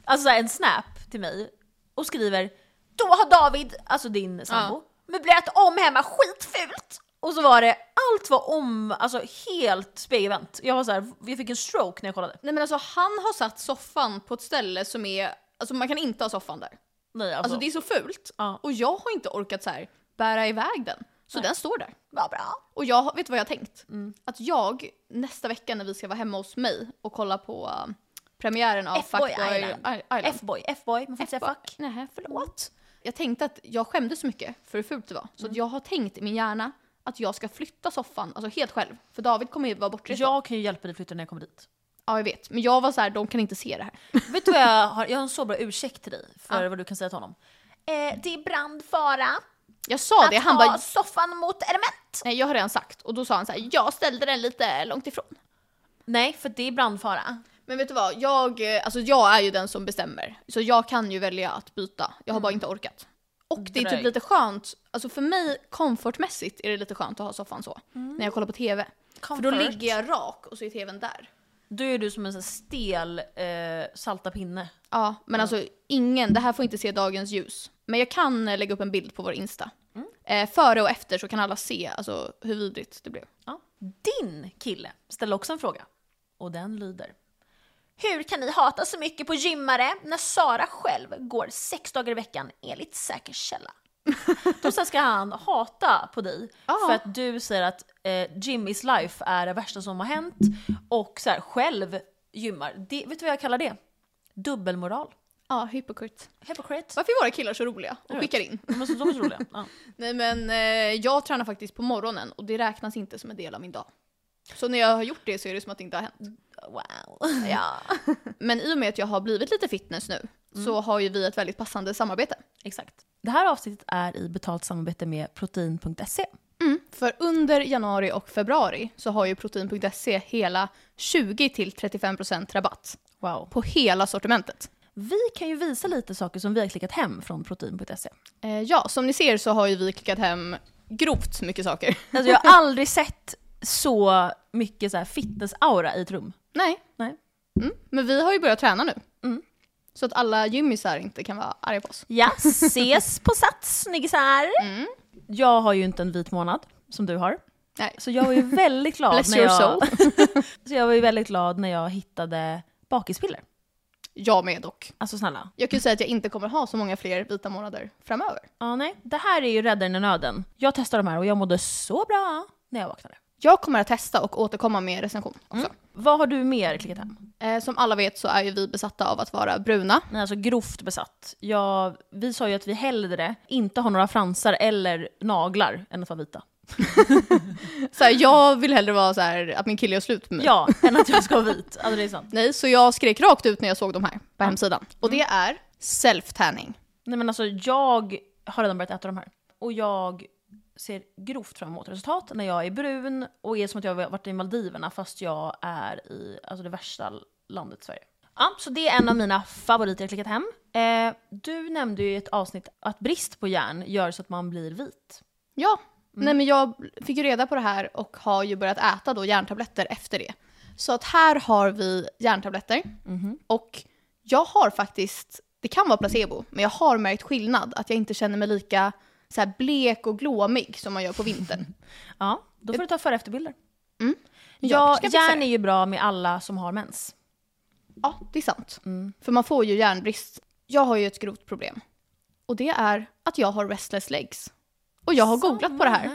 alltså så här, en snap till mig och skriver “Då har David, alltså din sambo, möblerat om hemma skitfult!” Och så var det, allt var om, alltså helt spegelvänt. Jag var så här, jag fick en stroke när jag kollade.
Nej men alltså han har satt soffan på ett ställe som är, alltså man kan inte ha soffan där.
Nej, alltså,
Alltså det är så fult.
Ja.
Och jag har inte orkat så här bära iväg den. Så den står där.
Vad bra.
Och jag, har- vet du vad jag har tänkt? Att jag nästa vecka när vi ska vara hemma hos mig och kolla på äh, premiären av
F-boy
Fuckboy
Island.
Island. Island.
F-boy, F-boy, man får inte säga fuck.
Nej, förlåt. Jag tänkte att jag skämdes så mycket för hur fult det var. Så att jag har tänkt i min hjärna att jag ska flytta soffan, alltså helt själv. För David kommer ju vara bortrest. då.
Jag kan ju hjälpa dig flytta när jag kommer dit.
ja, jag vet. Men jag var så här, de kan inte se det här.
Vet du vad jag har? Jag har en så bra ursäkt till dig för vad du kan säga till honom.
Eh, det är brandfara
Jag sa det,
att
han
ha
bara
soffan mot element.
Nej jag har redan sagt och då sa han så här, jag ställde den lite långt ifrån.
Nej, för det är brandfara.
Men vet du vad, jag, eh, alltså jag är ju den som bestämmer. Så jag kan ju välja att byta, jag har bara inte orkat. Och det är
Dröj.
typ lite skönt, alltså för mig komfortmässigt är det lite skönt att ha soffan så. När jag kollar på TV. Mm. För då
Comfort.
ligger jag rak och så är TVn där.
Då är du som en sån här stel eh, salta pinne.
Ja, men alltså ingen, det här får inte se dagens ljus. Men jag kan eh, lägga upp en bild på vår Insta. Eh, före och efter så kan alla se alltså, hur vidrigt det blev.
Ja. Din kille ställer också en fråga. Och den lyder. Hur kan ni hata så mycket på gymmare när Sara själv går sex dagar i veckan enligt säker källa? Då så ska han hata på dig
Ja.
för att du säger att eh, gym is life är det värsta som har hänt och så här, själv gymmar. Det, vet du vad jag kallar det? Dubbelmoral.
Ja, hypokrit.
Hypocrite.
Varför är våra killar så roliga och
vet.
skickar in?
De är så, de är så roliga. Ja.
Nej men eh, jag tränar faktiskt på morgonen och det räknas inte som en del av min dag. Så när jag har gjort det så är det som att det inte har hänt.
Wow.
Mm. Ja. Mm. Men i och med att jag har blivit lite fitness nu så har ju vi ett väldigt passande samarbete.
Exakt. Det här avsnittet är i betalt samarbete med protein.se.
För under januari och februari så har ju protein.se hela 20-35% rabatt
Wow.
på hela sortimentet.
Vi kan ju visa lite saker som vi har klickat hem från protein.se.
Eh, ja, som ni ser så har ju vi klickat hem grovt mycket saker.
Alltså jag har aldrig sett så mycket så här fitness-aura i ett rum.
Nej,
Nej.
Mm. men vi har ju börjat träna nu. Så att alla gymmisar inte kan vara arga på oss.
Ja, ses på Sats snyggisar!
Mm.
Jag har ju inte en vit månad som du har.
Nej.
Så jag var ju väldigt glad
Bless
när
your
jag... så jag var ju väldigt glad när jag hittade bakispiller.
Jag med dock.
Alltså snälla.
Jag kan ju säga att jag inte kommer ha så många fler vita månader framöver.
Ja, nej. Det här är ju räddaren i nöden. Jag testade de här och jag mådde så bra när jag vaknade.
Jag kommer att testa och återkomma med recension också.
Vad har du mer klickat hem?
Eh, som alla vet så är ju vi besatta av att vara bruna.
Nej, alltså grovt besatt. Jag, vi sa ju att vi hellre inte har några fransar eller naglar än att vara vita.
Så här, jag vill hellre vara så här att min kille gör slut med mig.
Ja, än att jag ska vara vit. Alltså det är sant.
Nej, så jag skrek rakt ut när jag såg de här på hemsidan. Och det är self-tanning.
Nej men alltså jag har redan börjat äta de här. Och jag ser grovt fram emot resultat när jag är brun och är som att jag har varit i Maldiverna fast jag är i alltså, det värsta landet Sverige. Ja, så det är en av mina favoriter jag klickat hem. Eh, du nämnde ju i ett avsnitt att brist på järn gör så att man blir vit.
Ja,
Mm.
nej men jag fick ju reda på det här och har ju börjat äta då järntabletter efter det. Så att här har vi järntabletter
Mhm.
och jag har faktiskt, det kan vara placebo, men jag har märkt skillnad att jag inte känner mig lika så här blek och glåmig som man gör på vintern.
Ja, då får du ta före och efterbilder.
Mm.
Ja,
ska fixa
järn
det.
är ju bra med alla som har mens.
Ja, det är sant.
Mm.
För man får ju järnbrist. Jag har ju ett grovt problem. Och det är att jag har restless legs. Och jag har googlat på det här.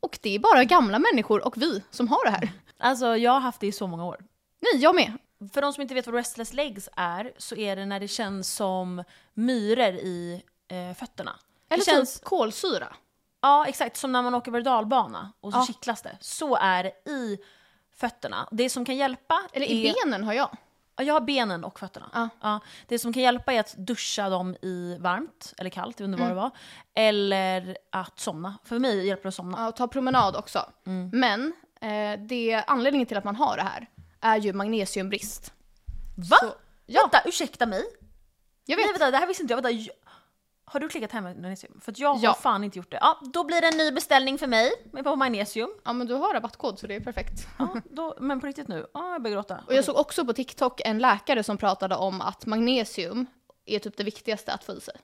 Och det är bara gamla människor och vi som har det här.
Alltså jag har haft det i så många år.
Nej, jag med.
För de som inte vet vad restless legs är så är det när det känns som myror i eh, fötterna.
Eller
det känns,
typ kolsyra.
Ja exakt, som när man åker berg dalbana och så
Ja.
kittlas det. Så är det i fötterna. Det som kan hjälpa
Eller i
är...
benen har jag.
Ja, jag har benen och fötterna.
Ja.
Det som kan hjälpa är att duscha dem i varmt eller kallt, jag vet
Mm.
inte vad det var. Eller att somna. För mig hjälper det att somna.
Ja, och ta promenad också. Men eh, det, anledningen till att man har det här är ju magnesiumbrist.
Va?
Så- ja.
Vänta, ursäkta mig.
Jag
Nej
vet.
vänta, det här visste inte jag. Vänta, jag... Har du klickat hem magnesium? För att jag har
Ja.
fan inte gjort det. Ja, då blir det en ny beställning för mig med på magnesium.
Ja, men du har rabattkod så det är perfekt.
Ja, då, men på riktigt nu, ja, jag börjar gråta.
Mm. Och jag såg också på TikTok en läkare som pratade om att magnesium är typ det viktigaste att få i sig.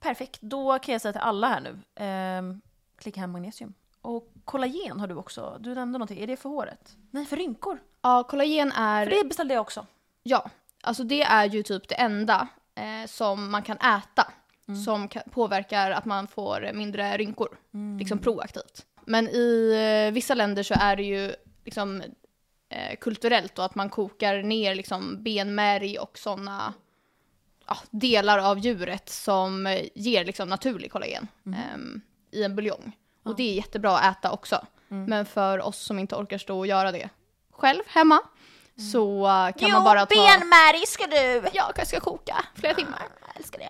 Perfekt, då kan jag säga till alla här nu. Ehm, klicka hem magnesium. Och kollagen har du också. Du nämnde någonting. Är det för håret? Nej, för rynkor.
Ja, kollagen är...
För det beställde jag också.
Ja, alltså det är ju typ det enda eh, som man kan äta som ka- påverkar att man får mindre rynkor, liksom proaktivt. Men i eh, vissa länder så är det ju liksom eh, kulturellt då att man kokar ner liksom benmärg och sådana ja, delar av djuret som eh, ger liksom naturlig kollagen
Mm.
ehm, i en buljong. Och det är jättebra att äta också.
Mm.
Men för oss som inte orkar stå och göra det själv hemma så eh, kan
Mm. jo,
man bara ta...
benmärg ska du!
Ja, jag ska koka flera timmar.
Jag älskar det.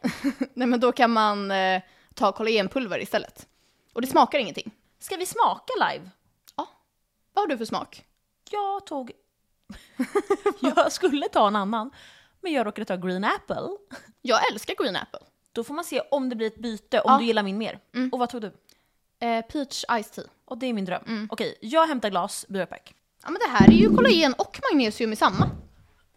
Nej men då kan man eh, ta kollagenpulver istället. Och det smakar ingenting.
Ska vi smaka live?
Vad har du för smak?
Jag tog... jag skulle ta en annan, men jag råkade ta green apple.
Jag älskar green apple.
Då får man se om det blir ett byte, om
Ja.
du gillar min mer. Och vad tog du?
Eh, peach ice tea.
Och det är min dröm. Okej, jag hämtar glas, biopack.
Ja men det här är ju kollagen och magnesium i samma.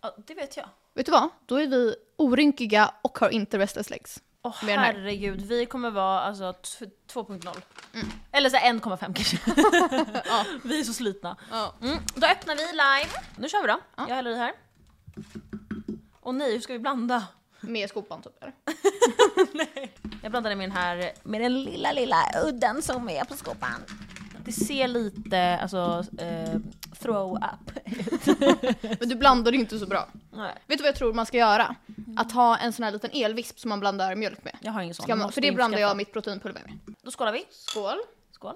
Ja, det vet jag.
Vet du vad? Då är vi orynkiga och har inte restless legs.
Åh
Med den här.
herregud, vi kommer vara alltså t- 2.0. Eller så här 1,5 kanske. Vi är så slitna.
Ja.
Mm, då öppnar vi live. Nu kör vi då. Jag häller i här. Och nej, hur ska vi blanda?
Med skopan typ. eller?
Jag blandade med den här, med den lilla,
Lilla, lilla udden som är på skopan.
det ser lite alltså eh, throw up.
Men du blandar ju inte så bra.
Nej,
Vet du vad jag tror man ska göra? Att ha en sån här liten elvisp som man blandar mjölk med.
jag har ingen sån.
Ska man,
Måste
för det blandar
införskaffa.
jag mitt proteinpulver med.
Då skålar vi.
Skål.
Skål.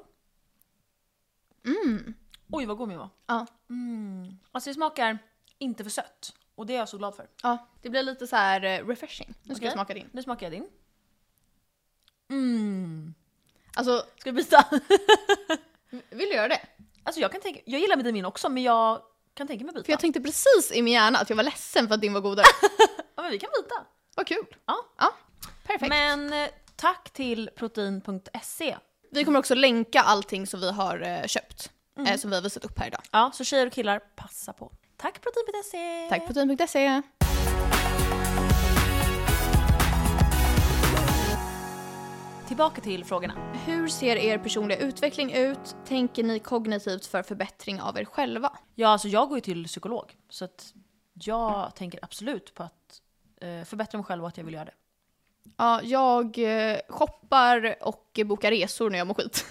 Mm.
Mm.
Oj vad god min var.
Ja.
Alltså det smakar inte för sött. Och det är jag så glad för.
ja. Det blir lite så här eh, refreshing. Nu ska
Okej.
jag smaka din.
Nu smakar jag din. Mm.
Alltså,
Ska vi byta?
vill du göra det?
alltså jag kan tänka, jag gillar med min också men jag kan tänka mig att byta.
För jag tänkte precis i min hjärna att jag var ledsen för att din var godare.
ja men vi kan byta.
Vad kul!
Ja.
ja. Perfekt.
Men eh, tack till protein.se.
Vi kommer också länka allting som vi har eh, köpt. Eh, som vi har visat upp här idag.
Ja, så tjejer och killar, passa på. Tack protein.se!
Tack protein.se!
Tillbaka till frågorna.
Hur ser er personliga utveckling ut? Tänker ni kognitivt för förbättring av er själva?
Ja, alltså jag går ju till psykolog. Så att jag tänker absolut på att eh, förbättra mig själv och att jag vill göra det.
Ja, jag eh, shoppar och eh, bokar resor när jag mår skit.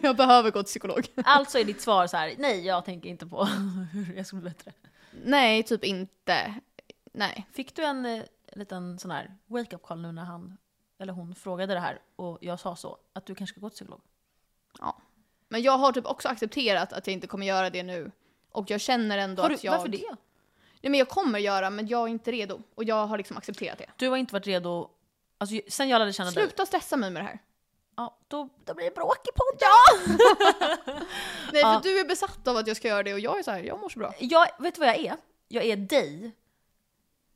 jag behöver gå till psykolog.
Alltså är ditt svar så här: nej jag tänker inte på hur jag ska bli bättre.
Nej, typ inte. Nej.
Fick du en eh, liten sån här wake-up call nu när han eller hon frågade det här och jag sa så, att du kanske ska gå till psykolog?
Ja. Men jag har typ också accepterat att jag inte kommer göra det nu. Och jag känner ändå
Har du,
att jag...
Varför det?
Nej, men jag kommer göra, men jag är inte redo. Och jag har liksom accepterat det.
Du har inte varit redo, alltså ju- sen jag lärde känna dig.
Sluta stressa mig med det här.
Ja, då,
Då blir det bråk i podden.
Nej,
Ja.
för du är besatt av att jag ska göra det och jag är så här, jag mår så bra.
jag, vet du vad jag är? Jag är dig.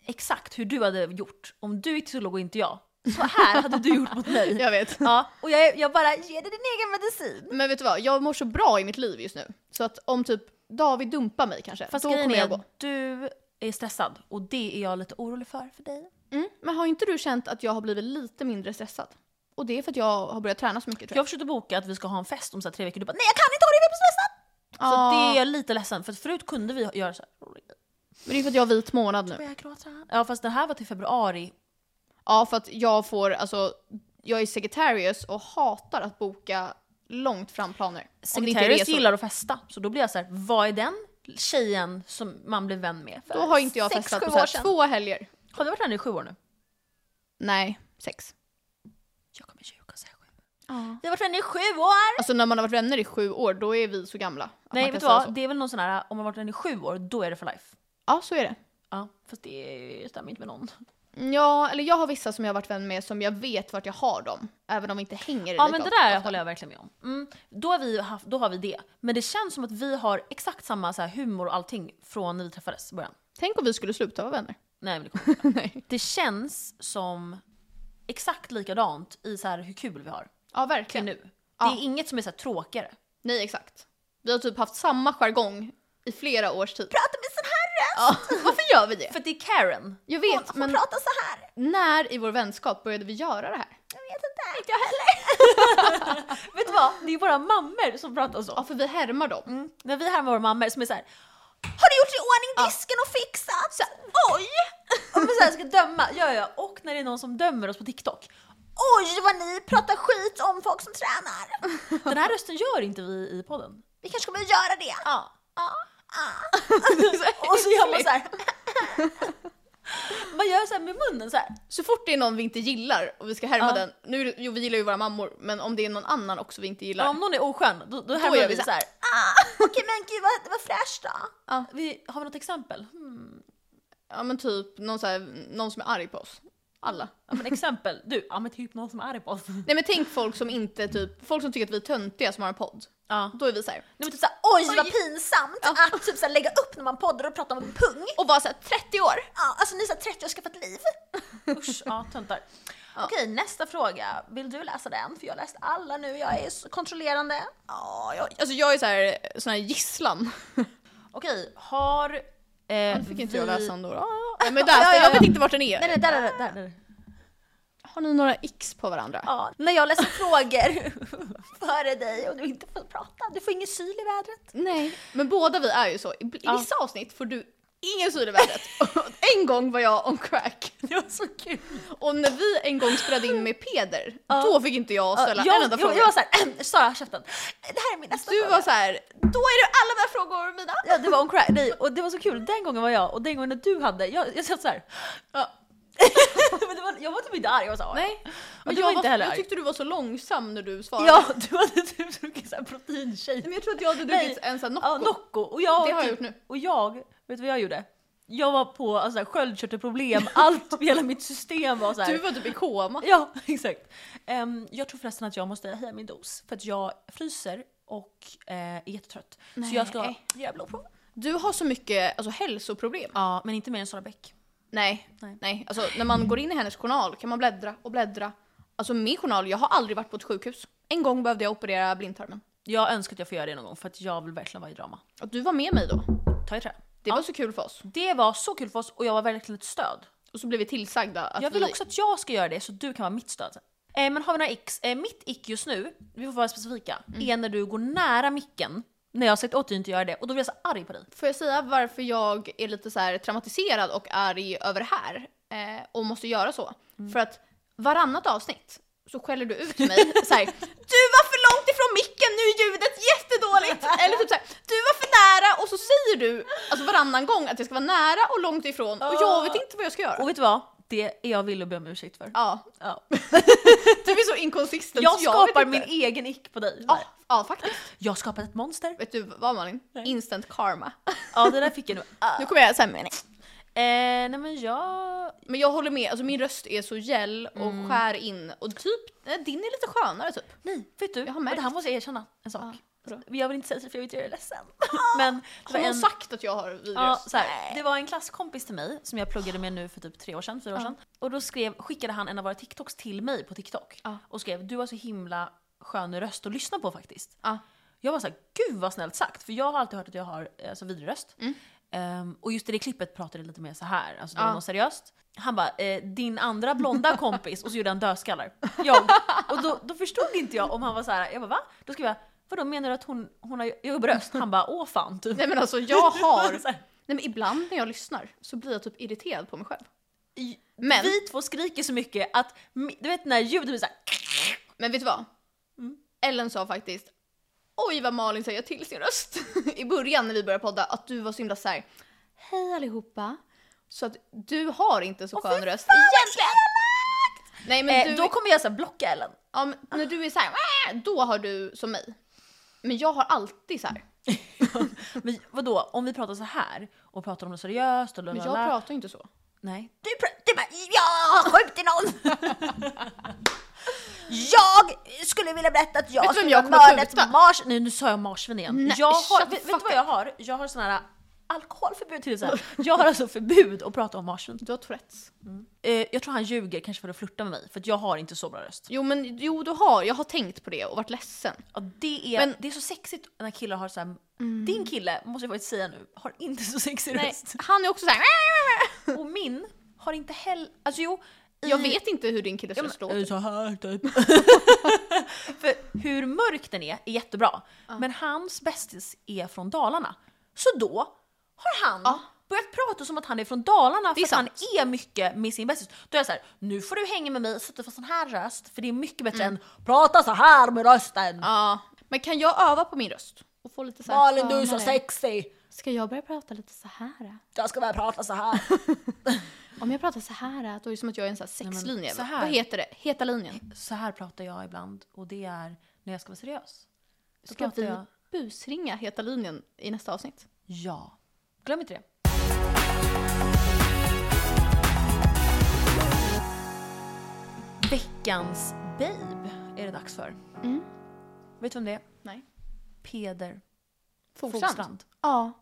Exakt hur du hade gjort om du gick till psykolog och inte jag. Så här hade du gjort mot mig.
Jag vet.
Ja,
Och jag, är- jag bara, ge dig din egen medicin.
Men vet du vad, jag mår så bra i mitt liv just nu. Så att om typ David dumpar mig kanske,
fast
då
grejen
kommer
är
jag gå.
att du är stressad och det är jag lite orolig för, för dig.
Mm. Men har inte du känt att jag har blivit lite mindre stressad? Och det är för att jag har börjat träna så mycket tror jag.
Jag försökte boka att vi ska ha en fest om så här tre veckor, du bara nej jag kan inte ha det, jag blir så stressad! Så
Ah.
det är jag lite ledsen för att förut kunde vi göra så här.
Men det är för att jag har vit månad nu.
Börjar jag gråta? Ja fast det här var till februari.
Ja, för att jag får, alltså, jag är Sagittarius och hatar att boka långt fram planer. Om det inte är
Sekretarius
resor.
gillar att festa så då blir jag så här, vad är den tjejen som man blir vän med? För
Då har inte jag
Sex,
festat
sju
på så
år
här,
sedan.
två helger.
Har vi varit här nu i sju år nu?
Nej, sex.
Jag kommer ljuga och säga sju. Vi har varit vänner i sju år!
Alltså när man har varit vänner i sju år, då är vi så gamla. att man
Nej
kan
vet du
säga
vad,
så.
det är väl någon sån här, om man har varit vänner i sju år då är det för life.
Ja, så är det.
Ja, fast det stämmer inte med någon.
Ja, eller jag har vissa som jag har varit vän med som jag vet vart jag har dem. Även om vi inte hänger
Ja
lika
men det
ofta.
där håller jag verkligen med om. Mm, då, har vi haft, då har vi det. Men det känns som att vi har exakt samma så här, humor och allting från när vi träffades i början.
Tänk om vi skulle sluta vara vänner.
Nej, men det, kommer inte.
Nej.
det känns som exakt likadant i så här, hur kul vi har
Ja,
till
verkligen.
nu.
Ja.
Det är inget som är så här, tråkigare.
Nej, exakt. Vi har typ haft samma jargong i flera års tid.
Prata med sån här röst.
Ja, varför gör vi det?
För att det är Karen.
Jag
Hon,
vet,
hon
men
pratar så här.
när i vår vänskap började vi göra det här?
Jag vet inte. Inte jag heller.
Vet du vad? Det är våra mammor som pratar så.
Ja, för vi härmar dem.
Mm. När vi här med våra mammor som är så här.
Har du gjort i ordning disken och fixat? Oj!
Om vi så här ska döma, ja ja. Och när det är någon som dömer oss på TikTok.
Oj vad ni pratar skit om folk som tränar.
Den här rösten gör inte vi i podden.
Vi kanske kommer göra det.
Ja.
Och så gör man så här.
Man gör så här med munnen så här.
Så fort det är någon vi inte gillar och vi ska härma
Ja.
den, nu, är det- jo vi gillar ju våra mammor, men om det är någon annan också vi inte gillar.
Ja, om någon är oskön, då, då här
gör
gör
vi
vi
så
så här.
Ah, Okej men gud vad, vad fräscht då.
Vi, har vi något exempel? Hmm.
Ja men typ någon, så här, någon som är arg på oss. Alla.
Ja, men exempel, du, ja men typ någon som är arg på oss.
Nej men tänk folk som inte typ, folk som tycker att vi är töntiga som har en podd.
Ja.
Då är vi såhär,
Nej, men typ så här,
Oj vad pinsamt att typ så här, lägga upp när man poddar och pratar om pung.
och var såhär 30 år!
Ja, alltså ni är så här 30 och skaffat liv.
oj, usch, ja töntar. Okej, nästa fråga. Vill du läsa den? För jag har läst alla nu, jag är så kontrollerande.
Ja, jag, alltså jag är såhär, sån här gisslan.
Okej, har... Eh,
Nu fick inte
vi-
jag läsa ändå. Ah, nej, men där, jag vet inte vart den är.
Nej, nej, där, där, där. där.
Har ni några x på varandra?
Ja, när jag läser frågor före dig och du inte får prata, du får ingen syl i vädret.
Nej. Men båda vi är ju så, i i vissa avsnitt får du ingen syl i vädret. en gång var jag on crack.
Det var så kul.
Och när vi en gång spelade in med Peder, då fick inte jag ställa en enda
Jag,
fråga.
jag, jag var såhär, Sara käften.
Det här är min nästa
du
fråga.
var så här, då är det alla mina frågor mina.
Ja, det var on crack. Nej, och det var så kul. Den gången var jag och den gången när du hade, jag, jag satt såhär. Ja. men det var, jag var typ inte arg, jag var såhär.
Nej. Men
du
jag,
var
var
inte heller
jag
arg.
tyckte du var så långsam när du svarade.
Ja, du hade typ druckit såhär proteinshake.
Men jag tror att jag hade druckit en sån här
Ja,
Nocco.
Nocco. typ. Och jag,
Det har jag gjort nu.
Och jag, vet du vad jag gjorde? Jag var på alltså, sköldkörtelproblem, allt, hela mitt system var såhär.
Du var typ i koma.
Ja, exakt. Ehm, jag tror förresten att jag måste höja min dos för att jag fryser och eh, är jättetrött. Så jag ska
Nej.
göra blodprov.
Du har så mycket alltså, hälsoproblem.
Ja, men inte mer än Sara Bäck.
Nej,
Nej.
nej. Alltså, när man går in i hennes journal kan man bläddra och bläddra. Alltså min journal, jag har aldrig varit på ett sjukhus. En gång behövde jag operera blindtarmen.
Jag önskar att jag får göra det någon gång för att jag vill verkligen vara i drama.
Och du var med mig då.
Ta i trä.
Det var så kul för oss.
Det var så kul för oss och jag var verkligen ett stöd.
Och så blev vi tillsagda att
Jag vill
vi...
också att jag ska göra det så du kan vara mitt stöd. Eh, men har vi några ick? Eh, mitt ick just nu, vi får vara specifika,
Mm.
är när du går nära micken. När jag har sagt åt dig att inte göra det och då blir jag så arg på dig.
Får jag säga varför jag är lite så här traumatiserad och arg över det här? Eh, och måste göra så. För att varannat avsnitt så skäller du ut mig såhär Du var för långt ifrån micken, nu är ljudet jättedåligt! Eller typ såhär, du var för nära och så säger du alltså varannan gång att jag ska vara nära och långt ifrån Ah. och jag vet inte vad jag ska göra.
Och vet du vad? Det är jag vill och be om ursäkt för.
Ja,
Ja.
du är så inkonsistent.
Jag
så vet
skapar
inte.
min egen ick på dig.
Ja, ja, faktiskt.
Jag har skapat ett monster.
Vet du vad Malin? Instant karma.
Ja det där fick jag nu. Ah.
Nu kommer jag säga mening.
Eh, nej men jag...
Men jag håller med, alltså min röst är så gäll och skär in och typ, eh, din är lite skönare typ.
Nej, vet du?
Jag har
Och
märkt.
det här måste jag erkänna en sak.
vadå?
jag vill inte säga det för jag vill inte göra dig ledsen. men
Har
det var
någon
en...
sagt att jag har vidrig
Ja,
röst?
så här, det var en klasskompis till mig som jag pluggade med nu för typ tre år sedan, fyra år sedan. Och då skrev, skickade han en av våra TikToks till mig på TikTok.
Ja.
Och skrev du har så himla skön röst att lyssna på faktiskt.
Ja.
Jag var såhär, gud vad snällt sagt. För jag har alltid hört att jag har eh, alltså, vidrig röst. Ehm, och just i det klippet pratade det lite mer så här, alltså det var
Mm. Ja.
något seriöst. Han bara, eh, din andra blonda kompis, och så gjorde han dödskallar. Jag. Och då, då förstod inte jag om han var så här. jag bara va? Då skrev jag, vadå menar du att hon, hon har jobbig röst? Han bara, åh fan typ.
Nej men alltså jag har,
Så här.
nej men ibland när jag lyssnar så blir jag typ irriterad på mig själv.
I-
Men,
Vi två skriker så mycket att, mi- du vet när ljudet blir såhär,
men vet du vad? Mm. Ellen sa faktiskt Oj vad Malin säger till sin röst i början när vi började podda att du var så himla såhär Hej allihopa! Så att du har inte så skön röst egentligen! Nej men
eh,
du,
då kommer jag såhär blocka Ellen.
ja, men när du är såhär "Wah!" då har du som mig. Men jag har alltid såhär.
Men vadå, om vi pratar så här och pratar om något seriöst och
Men jag
lalala.
pratar ju inte så.
Nej.
Du pratar med... Jag skjuter någon! jag skulle vilja berätta att
Vet
jag
du vem
skulle
jag
ha
kommer att
mördat
skjuta?
Mars, nej nu sa jag marsvin igen.
Nej,
jag har,
shut
vet,
the
vet du
fuck
vad jag har? Jag har sån här alkoholförbud till exempel. Jag har alltså förbud att prata om marsvin.
Du har Tourettes.
Eh, jag tror han ljuger kanske för att flirta med mig för att jag har inte så bra röst.
Jo men jo du har, jag har tänkt på det och varit ledsen.
Ja, det, är,
Men- Mm.
det är så sexigt när killar har så här, Din kille, måste jag faktiskt säga nu, har inte så sexig
Nej,
röst.
han är också "Äh!" såhär
Och min har inte heller... Alltså jo... i-
Jag vet inte hur din killes
Ja, men-
röst låter.
Så här typ. För hur mörk den är är jättebra. Men hans bästis är från Dalarna. Så då har han
Ja.
börjat prata som att han är från Dalarna för
är
att han
sant.
är mycket med sin bästis. Då är jag så här, nu får du hänga med mig så att du får sån här röst. För det är mycket bättre
Mm.
än prata så här med rösten.
Ja. Men kan jag öva på min röst? Och få lite så här
Malin, du är så
skönare?
sexig!
Ska jag börja prata lite så här?
Jag ska börja prata så här.
Om jag pratar så här då är det som att jag är en sån här
men
sexlinje.
så här.
Vad heter det? Heta linjen?
Så här pratar jag ibland och det är när jag ska vara seriös. Då
Ska
pratar
vi
jag-
busringa Heta linjen i nästa avsnitt?
Ja. Glöm inte det. Veckans babe är det dags för. Vet du vem det är?
Nej.
Peder
Fogstrand? Mm.
Fogstrand.
Ja.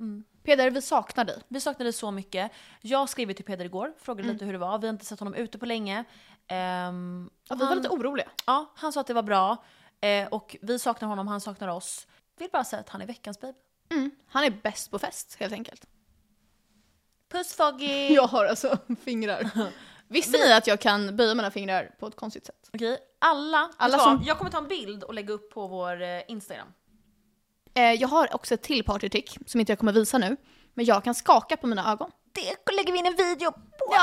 Peder, vi saknar dig.
Vi saknade så mycket. Jag skrev ju till Peder igår, frågade lite hur det var. Vi har inte sett honom ute på länge. Ehm,
Ja, vi var lite oroliga.
ja, han sa att det var bra. Eh, och vi saknar honom, han saknar oss. Vill bara säga att han är veckans babe.
Han är bäst på fest helt enkelt.
Puss Foggy!
Jag har alltså fingrar. Visste ni att jag kan böja mina fingrar på ett konstigt sätt?
Okej, alla.
Alla
Alla som...
som-
Jag kommer ta en bild och lägga upp på vår eh, Instagram.
Eh, jag har också ett till partytrick som inte jag kommer visa nu. Men jag kan skaka på mina ögon.
Det lägger vi in en video på!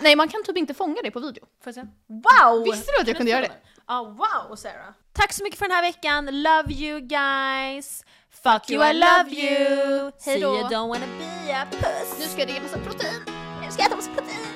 Nej, man kan typ inte fånga det på video.
Får jag se?
Wow!
Visste du att jag kunde göra det?
Ja, Ah, wow Sarah! Tack så mycket för den här veckan, love you guys! Fuck you I love you!
Hej
See you
då.
don't wanna be a puss!
Nu ska jag dricka massa protein.
Nu ska jag ta oss protein!